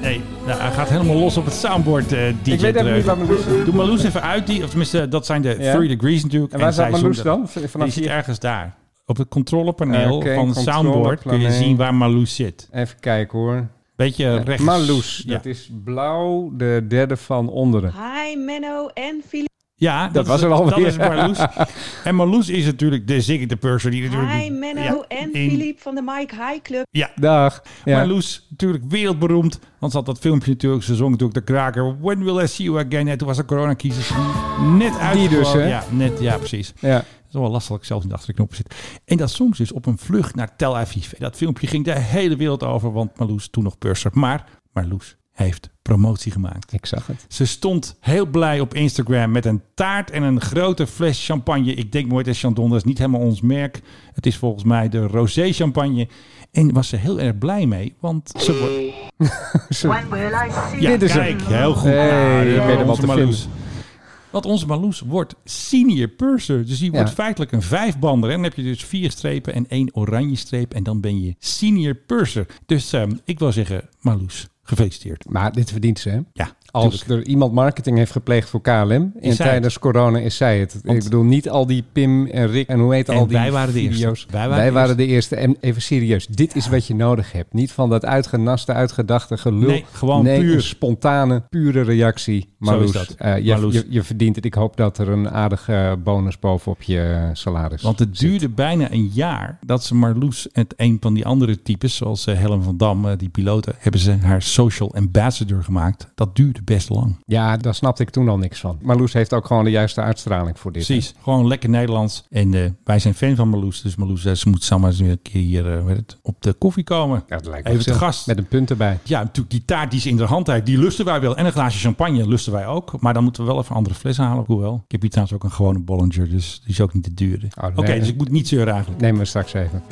S2: Nee, nou, hij gaat helemaal los op het soundboard, eh DJ
S3: Ik weet even
S2: Dreugen.
S3: niet waar Marloes is.
S2: Doe Marloes even uit. Die, of tenminste, dat zijn de
S3: Ja.
S2: 3 degrees natuurlijk.
S3: En waar staat
S2: zij
S3: Marloes
S2: zonder-
S3: dan? V- vanaf
S2: Die zit
S3: hier?
S2: ergens daar. Op het controlepaneel
S3: Oké,
S2: van het soundboard kun je
S3: controlepaneel.
S2: zien waar Marloes zit.
S3: Even kijken hoor.
S2: Beetje
S3: Ja,
S2: Eh, rechts.
S3: Marloes,
S2: Ja.
S3: dat is blauw, de derde van onderen.
S18: Hi Menno en Filip.
S2: Ja,
S3: Dat was
S2: is-
S3: er alweer.
S2: Dat is Marloes. en Marloes is natuurlijk de Ziggy de Purser. Die natuurlijk,
S18: Hi Menno
S2: ja,
S18: en
S2: in-
S18: Filip van de Mike High Club.
S2: Ja.
S3: Dag. Ja.
S2: Marloes, natuurlijk wereldberoemd. Want ze had dat filmpje natuurlijk. Ze zong natuurlijk de kraker. When will I see you again? En toen was de coronacrisis net uit.
S3: dus, hè?
S2: Ja, net, ja precies.
S3: Ja.
S2: Het is wel lastig dat ik zelf niet achter de knoppen zit. En dat zong ze dus op een vlucht naar Tel Aviv. En dat filmpje ging de hele wereld over. Want Marloes, toen nog purser. Maar Marloes heeft promotie gemaakt.
S3: Ik zag het.
S2: Ze stond heel blij op Instagram met een taart en een grote fles champagne. Ik denk nooit dat Chandon, dat is niet helemaal ons merk. Het is volgens mij de rosé champagne. En was ze heel erg blij mee, want ze wordt...
S3: Zo.
S2: Ja,
S3: Dit is
S2: kijk,
S3: hem.
S2: heel goed.
S3: Hey,
S2: Nou,
S3: ik
S2: ja,
S3: ben hem al
S2: onze
S3: te
S2: Marloes.
S3: vinden.
S2: Want onze Marloes wordt senior purser. Dus die
S3: Ja.
S2: wordt feitelijk een vijfbander. En dan heb je dus vier strepen en één oranje streep. En dan ben je senior purser. Dus ehm, ik wil zeggen, Marloes, gefeliciteerd.
S3: Maar dit verdient ze, hè?
S2: Ja,
S3: Als er iemand marketing heeft gepleegd voor KLM
S2: Is
S3: en
S2: zij
S3: tijdens corona is zij het. Ik bedoel, niet al die Pim en Rick en hoe heet
S2: En
S3: al die
S2: wij waren de eerste.
S3: video's.
S2: Wij waren
S3: Wij
S2: de
S3: waren de eerste. En even serieus, dit is wat je nodig hebt. Niet van dat uitgenaste, uitgedachte gelul.
S2: Nee, gewoon
S3: nee,
S2: puur.
S3: een spontane, pure reactie. Marloes,
S2: dat.
S3: eh, je,
S2: Marloes.
S3: Je, je verdient het. Ik hoop dat er een aardige bonus bovenop je salaris
S2: Want het duurde bijna een jaar dat ze Marloes en een van die andere types, zoals eh, Helen van Dam, eh, die piloten, hebben ze haar social ambassador gemaakt. Dat duurde best lang.
S3: Ja, daar snapte ik toen al niks van. Marloes heeft ook gewoon de juiste uitstraling voor dit.
S2: Precies, gewoon lekker Nederlands. En eh, wij zijn fan van Marloes, dus Marloes, eh, ze moet samen eens een keer hier eh, hoe heet het, op de koffie komen.
S3: Ja, dat lijkt me
S2: Even te
S3: gezellig.
S2: gast.
S3: Met een punt erbij.
S2: Ja, natuurlijk die taart die ze in de hand heeft, die lusten wij wel. En een glaasje champagne lusten wij ook. Maar dan moeten we wel even andere flessen halen, hoewel. Ik heb hier trouwens ook een gewone Bollinger, dus die is ook niet te duurde.
S3: Oh,
S2: Oké, dus ik moet niet zeuren eigenlijk.
S3: Nemen we straks even.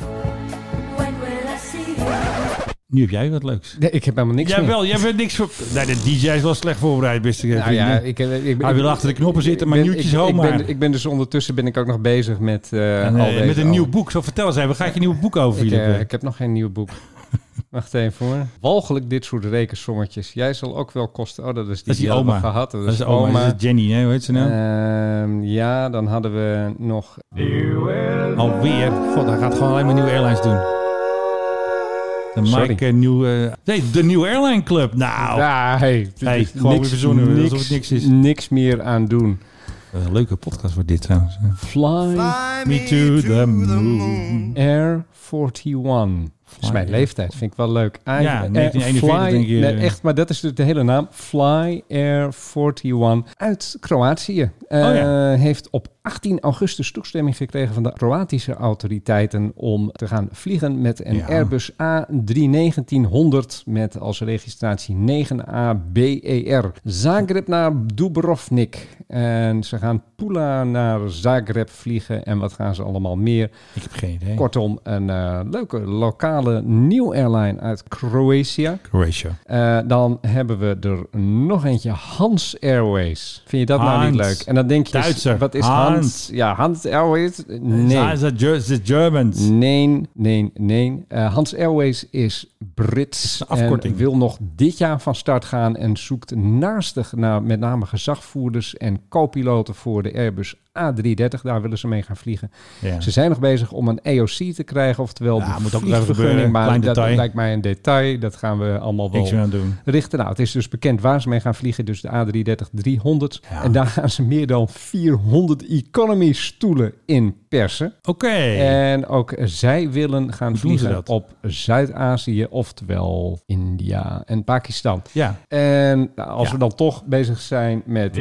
S2: Nu heb jij wat leuks.
S3: Nee, ik heb helemaal niks meer.
S2: Jawel, jij bent niks voor... Nee, de DJ is wel slecht voorbereid, beste
S3: Nou ja,
S2: vrienden.
S3: ik, heb- ik,
S2: Hij wil achter de knoppen zitten, maar
S3: ik ben-
S2: nieuwtjes
S3: ik-
S2: hoor
S3: ik
S2: maar.
S3: ben, ik ben dus ondertussen ben ik ook nog bezig met eh,
S2: En, eh,
S3: al deze...
S2: met een
S3: al-
S2: nieuw boek. Zo vertel eens even, waar gaat je nieuw boek over,
S3: Ik,
S2: Filip?
S3: eh, ik heb nog geen nieuw boek. Wacht even hoor. Walgelijk dit soort rekensommetjes. Jij zal ook wel kosten... Oh, dat is die,
S2: Dat is die
S3: we
S2: oma.
S3: Gehad.
S2: Dat is de oma. Dat is Jenny, hè? Hoe heet ze
S3: Eh,
S2: nou?
S3: Ehm, ja, dan hadden we nog...
S2: Alweer. God, hij gaat gewoon alleen maar nieuwe airlines doen. De
S3: Sorry.
S2: Mike eh, Nieuw... eh, nee, de Nieuw Airline Club. Nou.
S3: Ja, Ah, hey,
S2: Hey, gewoon weer verzonnen. Niks, alsof het niks is.
S3: Niks meer aan doen.
S2: Een leuke podcast wordt dit trouwens.
S3: Fly,
S2: me to the moon.
S3: Air 41. Dat is mijn leeftijd. Vind ik wel leuk. Eigenlijk,
S2: Ja, 1941
S3: Fly-
S2: denk je.
S3: nee, echt, maar dat is dus de hele naam. Fly Air 41 uit Kroatië. Eh,
S2: Oh
S3: Heeft op 18 augustus toestemming gekregen van de Kroatische autoriteiten om te gaan vliegen met een
S2: Ja.
S3: Airbus A31900 met als registratie 9ABER. E Zagreb naar Dubrovnik. En ze gaan Pula naar Zagreb vliegen. En wat gaan ze allemaal meer?
S2: Ik heb geen idee.
S3: Kortom, een eh, leuke lokale nieuw airline uit Kroatië.
S2: Croatia.
S3: Eh, dan hebben we er nog eentje, Hans Airways. Vind je dat nou niet
S2: Hans.
S3: leuk? En dan denk je,
S2: Duitser.
S3: wat is
S2: Hans.
S3: Hans? Ja, Hans Airways. Nee.
S2: Zijn ze Ger- ze Germans?
S3: Nee, nee, nee. Eh, Hans Airways is Brits
S2: afkorting.
S3: en wil nog dit jaar van start gaan en zoekt naastig naar met name gezagvoerders en co-piloten voor de Airbus A330. Daar willen ze mee gaan vliegen.
S2: Ja.
S3: Ze zijn nog bezig om een EOC te krijgen, oftewel
S2: Ja,
S3: de
S2: moet ook nog even gebeuren.
S3: vliegvergunning. Maar
S2: Klein
S3: dat
S2: detail.
S3: lijkt mij een detail. Dat gaan we allemaal wel
S2: Niks meer aan doen.
S3: richten. Nou, het is dus bekend waar ze mee gaan vliegen. Dus de A330-300. En daar gaan ze meer dan 400 economy stoelen in persen.
S2: Oké.
S3: En ook zij willen gaan
S2: doen ze
S3: vliegen
S2: dat?
S3: op Zuid-Azië, oftewel India en Pakistan.
S2: Ja.
S3: En nou, als we dan toch bezig zijn met...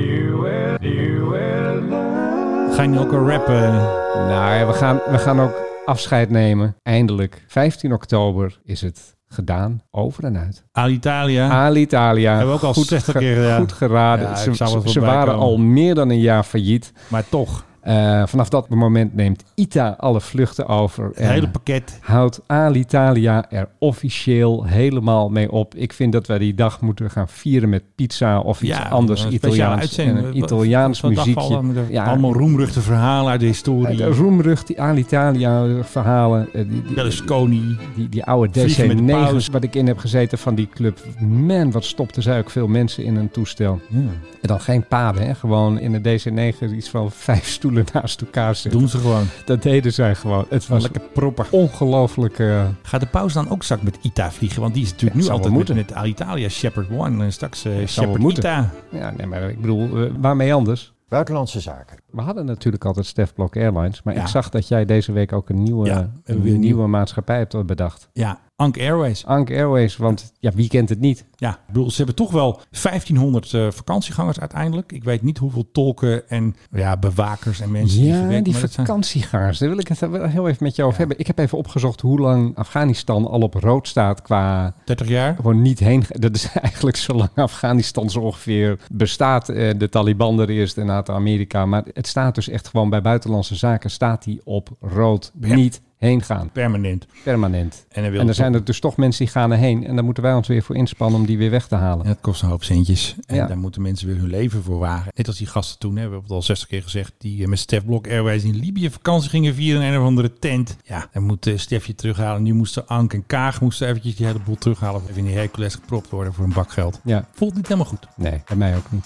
S2: Ga je nu ook al rappen?
S3: Nou ja, we gaan, we gaan ook afscheid nemen. Eindelijk, 15 oktober is het gedaan. Over en uit.
S2: Alitalia.
S3: Ah. Alitalia.
S2: Hebben we ook al
S3: Goed
S2: 60
S3: ge-
S2: keer gedaan.
S3: Goed geraden.
S2: Ja,
S3: ze
S2: ik zou wel
S3: ze- ze
S2: voorbij
S3: waren
S2: komen.
S3: al meer dan een jaar failliet.
S2: Maar toch.
S3: Eh, vanaf dat moment neemt ITA alle vluchten over. Het
S2: hele pakket.
S3: Houdt Alitalia er officieel helemaal mee op. Ik vind dat wij die dag moeten gaan vieren met pizza of iets
S2: Ja,
S3: anders
S2: een speciale
S3: Italiaals. En
S2: uitzending.
S3: een Italiaans
S2: Wat- wat- wat dacht je
S3: muziekje.
S2: allemaal? Allemaal roemruchte verhalen uit de historie.
S3: De roemrucht, Alitalia verhalen. eh, die- die-
S2: Berlusconi.
S3: die, die oude
S2: Vliegen met de paus.
S3: DC-9's waar ik in heb gezeten van die club. Man, wat stopten zij ook veel mensen in een toestel. En dan geen paden, hè? gewoon in een DC-9 iets van vijf stoelen naast elkaar zitten.
S2: Doen ze gewoon.
S3: Dat deden zij gewoon. Het was
S2: Lekker
S3: proper. Ongelooflijk. eh,
S2: Gaat de paus dan ook straks met ITA vliegen? Want die is natuurlijk
S3: Ja,
S2: nu
S3: zou
S2: altijd
S3: wel
S2: met,
S3: moeten.
S2: met Alitalia, Shepherd One. En straks eh
S3: zou wel
S2: Shepherd
S3: moeten.
S2: ITA.
S3: Ja, nee, maar ik bedoel, eh, waarmee anders?
S17: Buitenlandse zaken.
S3: We hadden natuurlijk altijd Stef Blok Airlines. Maar
S2: Ja.
S3: ik zag dat jij deze week ook een nieuwe,
S2: Ja, hebben we
S3: een
S2: weer een
S3: nieuwe,
S2: nieuw-
S3: maatschappij hebt bedacht.
S2: Ja, Ank Airways.
S3: Ank Airways, want ja, wie kent het niet?
S2: Ja, ik bedoel, ze hebben toch wel 1500 eh, vakantiegangers uiteindelijk. Ik weet niet hoeveel tolken en ja, bewakers en mensen die
S3: Ja,
S2: gewerkt
S3: die
S2: maar dat zijn-
S3: vakantiegangers. Daar wil ik het wel heel even met jou over hebben. Ik heb even opgezocht hoe lang Afghanistan al op rood staat qua...
S2: 30 jaar?
S3: Gewoon niet heen. Dat is eigenlijk zolang Afghanistan zo ongeveer bestaat. Eh, De Taliban er eerst en na het Amerika. Maar het staat dus echt gewoon bij buitenlandse zaken staat die op rood.
S2: Ja.
S3: Niet heen gaan.
S2: Permanent.
S3: Permanent.
S2: En dan wil
S3: En er
S2: het
S3: zijn er dus toch mensen die gaan erheen. En daar moeten wij ons weer voor inspannen om die weer weg te halen.
S2: En dat kost een hoop centjes. En
S3: Ja.
S2: daar moeten mensen weer hun leven voor wagen. Net als die gasten toen, hè, we hebben het al 60 keer gezegd, die eh, met Stef Blok Airways in Libië vakantie gingen vieren in een of andere tent. Ja, dan moet eh, Stefje terughalen. Nu moesten Ank en Kaag moesten eventjes die hele boel terughalen. Of even in die Hercules gepropt worden voor een bak geld.
S3: Ja.
S2: Voelt niet helemaal goed.
S3: Nee, bij mij ook niet.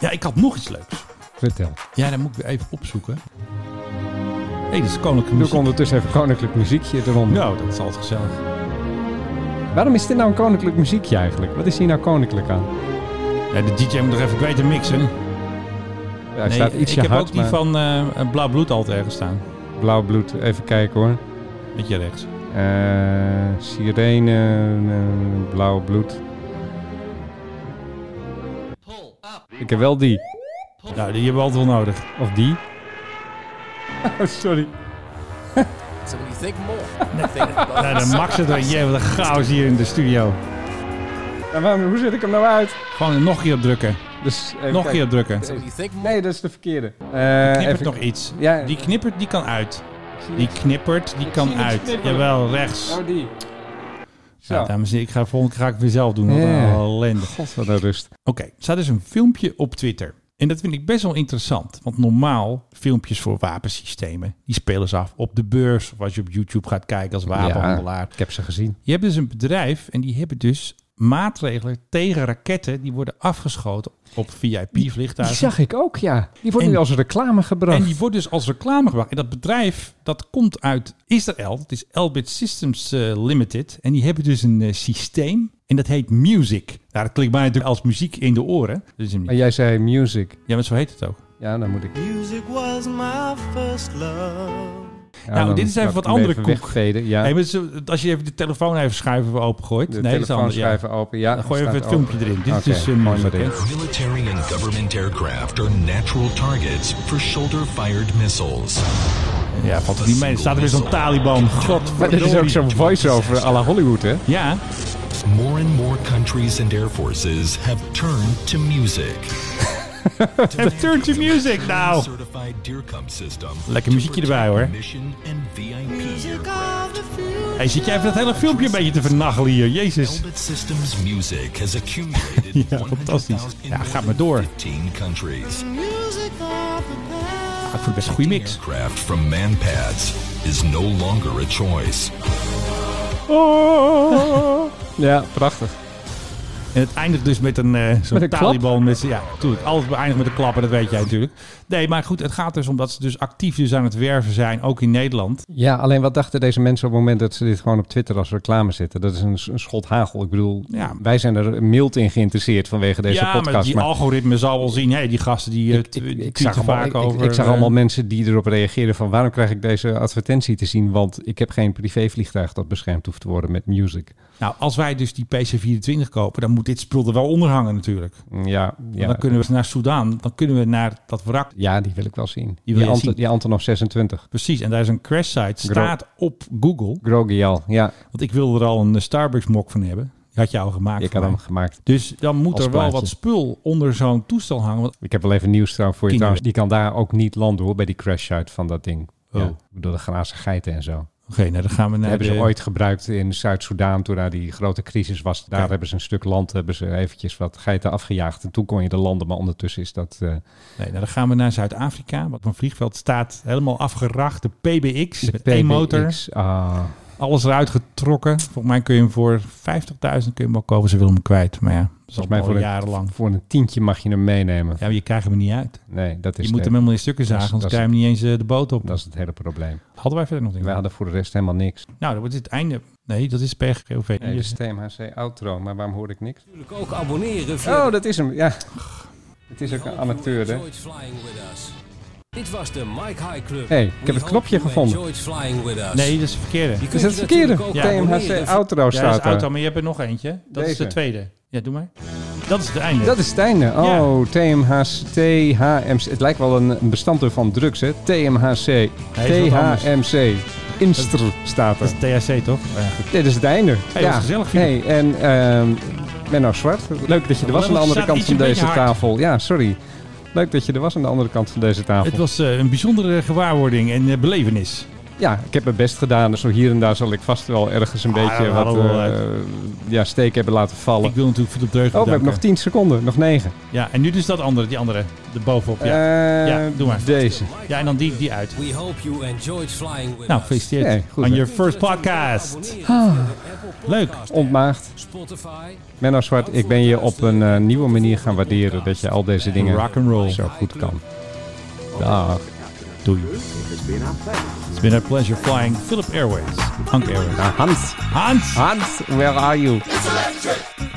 S2: Ja, ik had nog iets leuks.
S3: Vertel.
S2: Ja, dan moet ik weer even opzoeken. Hé, dit is koninklijke
S3: Doe ik
S2: muziek.
S3: ondertussen even koninklijk muziekje eronder.
S2: Nou, dat is altijd gezellig.
S3: Waarom is dit nou een koninklijk muziekje eigenlijk? Wat is hier nou koninklijk aan?
S2: Ja, de DJ moet nog even beter mixen.
S3: hij staat
S2: ik
S3: ietsje
S2: heb
S3: hard,
S2: ook die
S3: maar-
S2: van eh Blauw Bloed altijd ergens staan.
S3: Blauw bloed, even kijken hoor.
S2: Beetje rechts.
S3: Eh, sirene, eh, blauw bloed. Ik heb wel die.
S2: Nou, die hebben we altijd wel nodig.
S3: Of die. Oh, sorry.
S4: So when you think more,
S2: Nou, dan Max het er. Jee, wat een chaos hier in de studio.
S3: Ja, waarom- hoe zet ik hem nou uit?
S2: Gewoon nog een keer op drukken.
S3: Dus, even
S2: nog een keer
S3: kijken.
S2: op drukken.
S3: Nee, dat is de verkeerde. Eh,
S2: knippert
S3: even-
S2: nog iets.
S3: Ja.
S2: Die knippert, die kan uit. Die knippert, die
S3: Ik
S2: kan
S3: zie niks
S2: uit.
S3: knipperen.
S2: Jawel, rechts.
S3: Oh, die. Zo.
S2: Ja, dames en heren, ik ga volgende keer ga ik het weer zelf doen. Wat
S3: Ja.
S2: een ellende.
S3: God, wat een rust.
S2: Oké, er staat dus een filmpje op Twitter. En dat vind ik best wel interessant. Want normaal, filmpjes voor wapensystemen, die spelen ze af op de beurs. Of als je op YouTube gaat kijken als wapenhandelaar.
S3: ik heb ze gezien.
S2: Je hebt dus een bedrijf en die hebben dus maatregelen tegen raketten die worden afgeschoten op VIP-vliegtuigen.
S3: Die zag ik ook, ja. Die wordt nu als reclame gebracht.
S2: En die wordt dus als reclame gebracht. En dat bedrijf, dat komt uit Israël. Dat is Elbit Systems eh, Limited. En die hebben dus een eh, systeem. En dat heet Music. Nou, dat klinkt mij natuurlijk als muziek in de oren. Dat is hem niet.
S3: Maar jij zei music.
S2: Ja, maar zo heet het ook.
S3: Ja, dan moet ik.
S17: Music was my first love.
S3: Ja,
S2: nou,
S3: dan
S2: dit is even
S3: laat
S2: wat
S3: ik hem
S2: andere
S3: even
S2: koek.
S3: wegveden, ja.
S2: Hey, maar zo- als je even de telefoon even schuiven opengooit.
S3: De
S2: nee, dat is
S3: telefoon
S2: anders, ja.
S3: schuiven open, ja.
S2: Dan gooi je
S3: staat
S2: even het
S3: open.
S2: filmpje erin. Dit is
S3: Oké,
S2: dus eh,
S3: gooi
S2: Music,
S3: maar
S2: hè.
S3: erin.
S19: Military and government aircraft are natural targets for shoulder fired missiles.
S2: Ja, valt het niet mee. Er staat er weer zo'n Taliban. God,
S3: Maar dit is ook zo'n voice-over à la Hollywood, hè?
S2: Ja.
S19: More and more countries and air forces have turned to music.
S2: Have turned to music now.
S19: Certified DIRCOM system.
S2: Lekker muziekje erbij hoor.
S19: Mission and VIP aircraft.
S2: Hey, zit jij even dat hele filmpje een beetje te vernachelen hier? Jezus.
S19: Elbit Systems music has accumulated
S2: Ja, fantastisch. Ja, gaat maar door.
S19: 15 countries.
S2: Ja, ik vond het best een goede mix.
S19: Aircraft from manpads is no longer a choice.
S3: Ja, prachtig.
S2: En het eindigt dus met een, eh zo'n
S3: Met een klap?
S2: Taliban. Met, z'n- ja, natuurlijk. Alles beëindigt met een klapper, dat weet jij natuurlijk. Nee, maar goed, het gaat dus om dat ze dus actief dus aan het werven zijn, ook in Nederland.
S3: Ja, alleen wat dachten deze mensen op het moment dat ze dit gewoon op Twitter als reclame zetten? Dat is een, een schot hagel. Ik bedoel,
S2: Ja.
S3: wij zijn er mild in geïnteresseerd vanwege deze
S2: ja,
S3: podcast.
S2: maar die algoritme zal wel zien, hé, die gasten die ik,
S3: ik zag, allemaal,
S2: vaak
S3: ik,
S2: over.
S3: ik, ik zag
S2: eh,
S3: allemaal mensen die erop reageerden van waarom krijg ik deze advertentie te zien? Want ik heb geen privévliegtuig dat beschermd hoeft te worden met music.
S2: Nou, als wij dus die PC-24 kopen, dan moet dit spul er wel onder hangen natuurlijk.
S3: Mm, Ja,
S2: Want
S3: ja.
S2: Dan kunnen we naar Soudaan, dan kunnen we naar dat wrak.
S3: ja die wil ik wel zien.
S2: Die
S3: Die,
S2: wil je
S3: Anton,
S2: zien.
S3: die Antonov 26.
S2: Precies, en daar is een crash site, staat op Google.
S3: Grogial, ja.
S2: Want ik wilde er al een eh, Starbucks mok van hebben. Die had je al gemaakt.
S3: Ik
S2: voor
S3: had hem
S2: mij.
S3: gemaakt.
S2: Dus dan moet
S3: Als
S2: er wel
S3: plaatje.
S2: wat spul onder zo'n toestel hangen. Want
S3: Ik heb wel even nieuws trouwens voor je.
S2: Kinderen.
S3: Trouwens, die kan daar ook niet landen hoor, bij die crash out van dat ding.
S2: Oh.
S3: Ja, ik bedoel, de glazen geiten en zo.
S2: Oké, nou dan gaan we
S3: Dat
S2: naar
S3: hebben
S2: de-
S3: ze ooit gebruikt in Zuid-Soedan toen daar die grote crisis was. Daar
S2: Oké.
S3: hebben ze een stuk land, hebben ze eventjes wat geiten afgejaagd. En toen kon je er landen, maar ondertussen is dat... eh,
S2: Nee, nou, dan gaan we naar Zuid-Afrika. Wat op een vliegveld staat helemaal afgeracht. De PBX
S3: De
S2: met één motor.
S3: PBX, ah.
S2: Alles eruit getrokken. Volgens mij kun je hem voor 50.000 kun je hem wel kopen. Ze willen hem kwijt. Maar ja, dat is
S3: Volgens mij
S2: al
S3: voor een,
S2: jarenlang.
S3: voor een tientje mag je hem meenemen.
S2: Ja, maar je krijgt hem er niet uit.
S3: Dus Nee, dat is
S2: Je moet
S3: de-
S2: hem helemaal in stukken zagen,
S3: dat is-
S2: anders krijg je hem niet eens eh, de boot op.
S3: Dat is het hele probleem.
S2: Hadden wij verder nog niet.
S3: We hadden voor de rest helemaal niks.
S2: Nou, dat wordt het einde. Nee, dat is PGOV.
S3: Nee, dat is TMHC outro, maar waarom hoor ik niks? Natuurlijk
S20: ook abonneren via
S3: Oh, dat is hem, ja. Het is ook een amateur, hè?
S20: Enjoyed flying with us. Dit was de Mike High Club.
S3: Hey, ik heb
S20: We
S3: het knopje
S20: hope you
S3: gevonden.
S20: enjoyed flying with us.
S2: Nee, dat is het verkeerde.
S20: Je kunt
S3: Is dat Dus het
S20: je
S3: verkeerde?
S20: natuurlijk ook
S3: Ja.
S20: abonneren
S3: TMHC
S20: via-
S3: outro
S2: Ja, dat
S3: staat
S2: is
S3: er.
S2: auto, maar je hebt er nog eentje. Dat is de
S3: Deze.
S2: tweede. Ja, doe maar. Dat is het einde.
S3: Dat is het einde.
S2: Ja.
S3: Oh, TMHC, THMC. Het lijkt wel een een bestanddeel van drugs, hè? TMHC,
S2: is wat anders.
S3: THMC. Instr staat er.
S2: Dat is THC, toch?
S3: Dit is het einde.
S2: Hey, was gezellig, Filip.
S3: Hey, en ehm Menno Zwart, leuk dat je er was aan de andere
S2: Staat
S3: kant
S2: iets
S3: van
S2: een beetje
S3: deze
S2: hard.
S3: tafel. Ja, sorry. Leuk dat je er was aan de andere kant van deze tafel.
S2: Het was eh, een bijzondere gewaarwording en eh, belevenis.
S3: Ja, ik heb mijn best gedaan. dus Zo hier en daar zal ik vast wel ergens een
S2: Ah,
S3: beetje
S2: dat
S3: wat
S2: hadden we wel
S3: eh,
S2: uit.
S3: ja, steek hebben laten vallen.
S2: Ik wil natuurlijk Philip Dreug
S3: Oh, we hebben nog
S2: bedanken.
S3: 10 seconden. Nog 9.
S2: Ja, en nu dus dat andere, die andere, de bovenop. Ja,
S3: Eh,
S2: ja doe maar.
S3: Deze.
S2: Ja, en dan die, die uit.
S20: We hope you enjoyed flying with
S2: Nou,
S20: us.
S2: gefeliciteerd.
S3: Nee, goed,
S2: On
S3: hè.
S2: your first podcast. Ah, Leuk.
S3: Ontmaagd.
S20: Spotify.
S3: Menno Zwart, ik ben je op een eh, nieuwe manier gaan waarderen dat je al deze dingen zo goed kan. Dag.
S2: Doei. It's been a pleasure flying Philip Airways. Hank Airways.
S3: Hans.
S2: Hans.
S3: Hans, where are you?
S12: It's electric.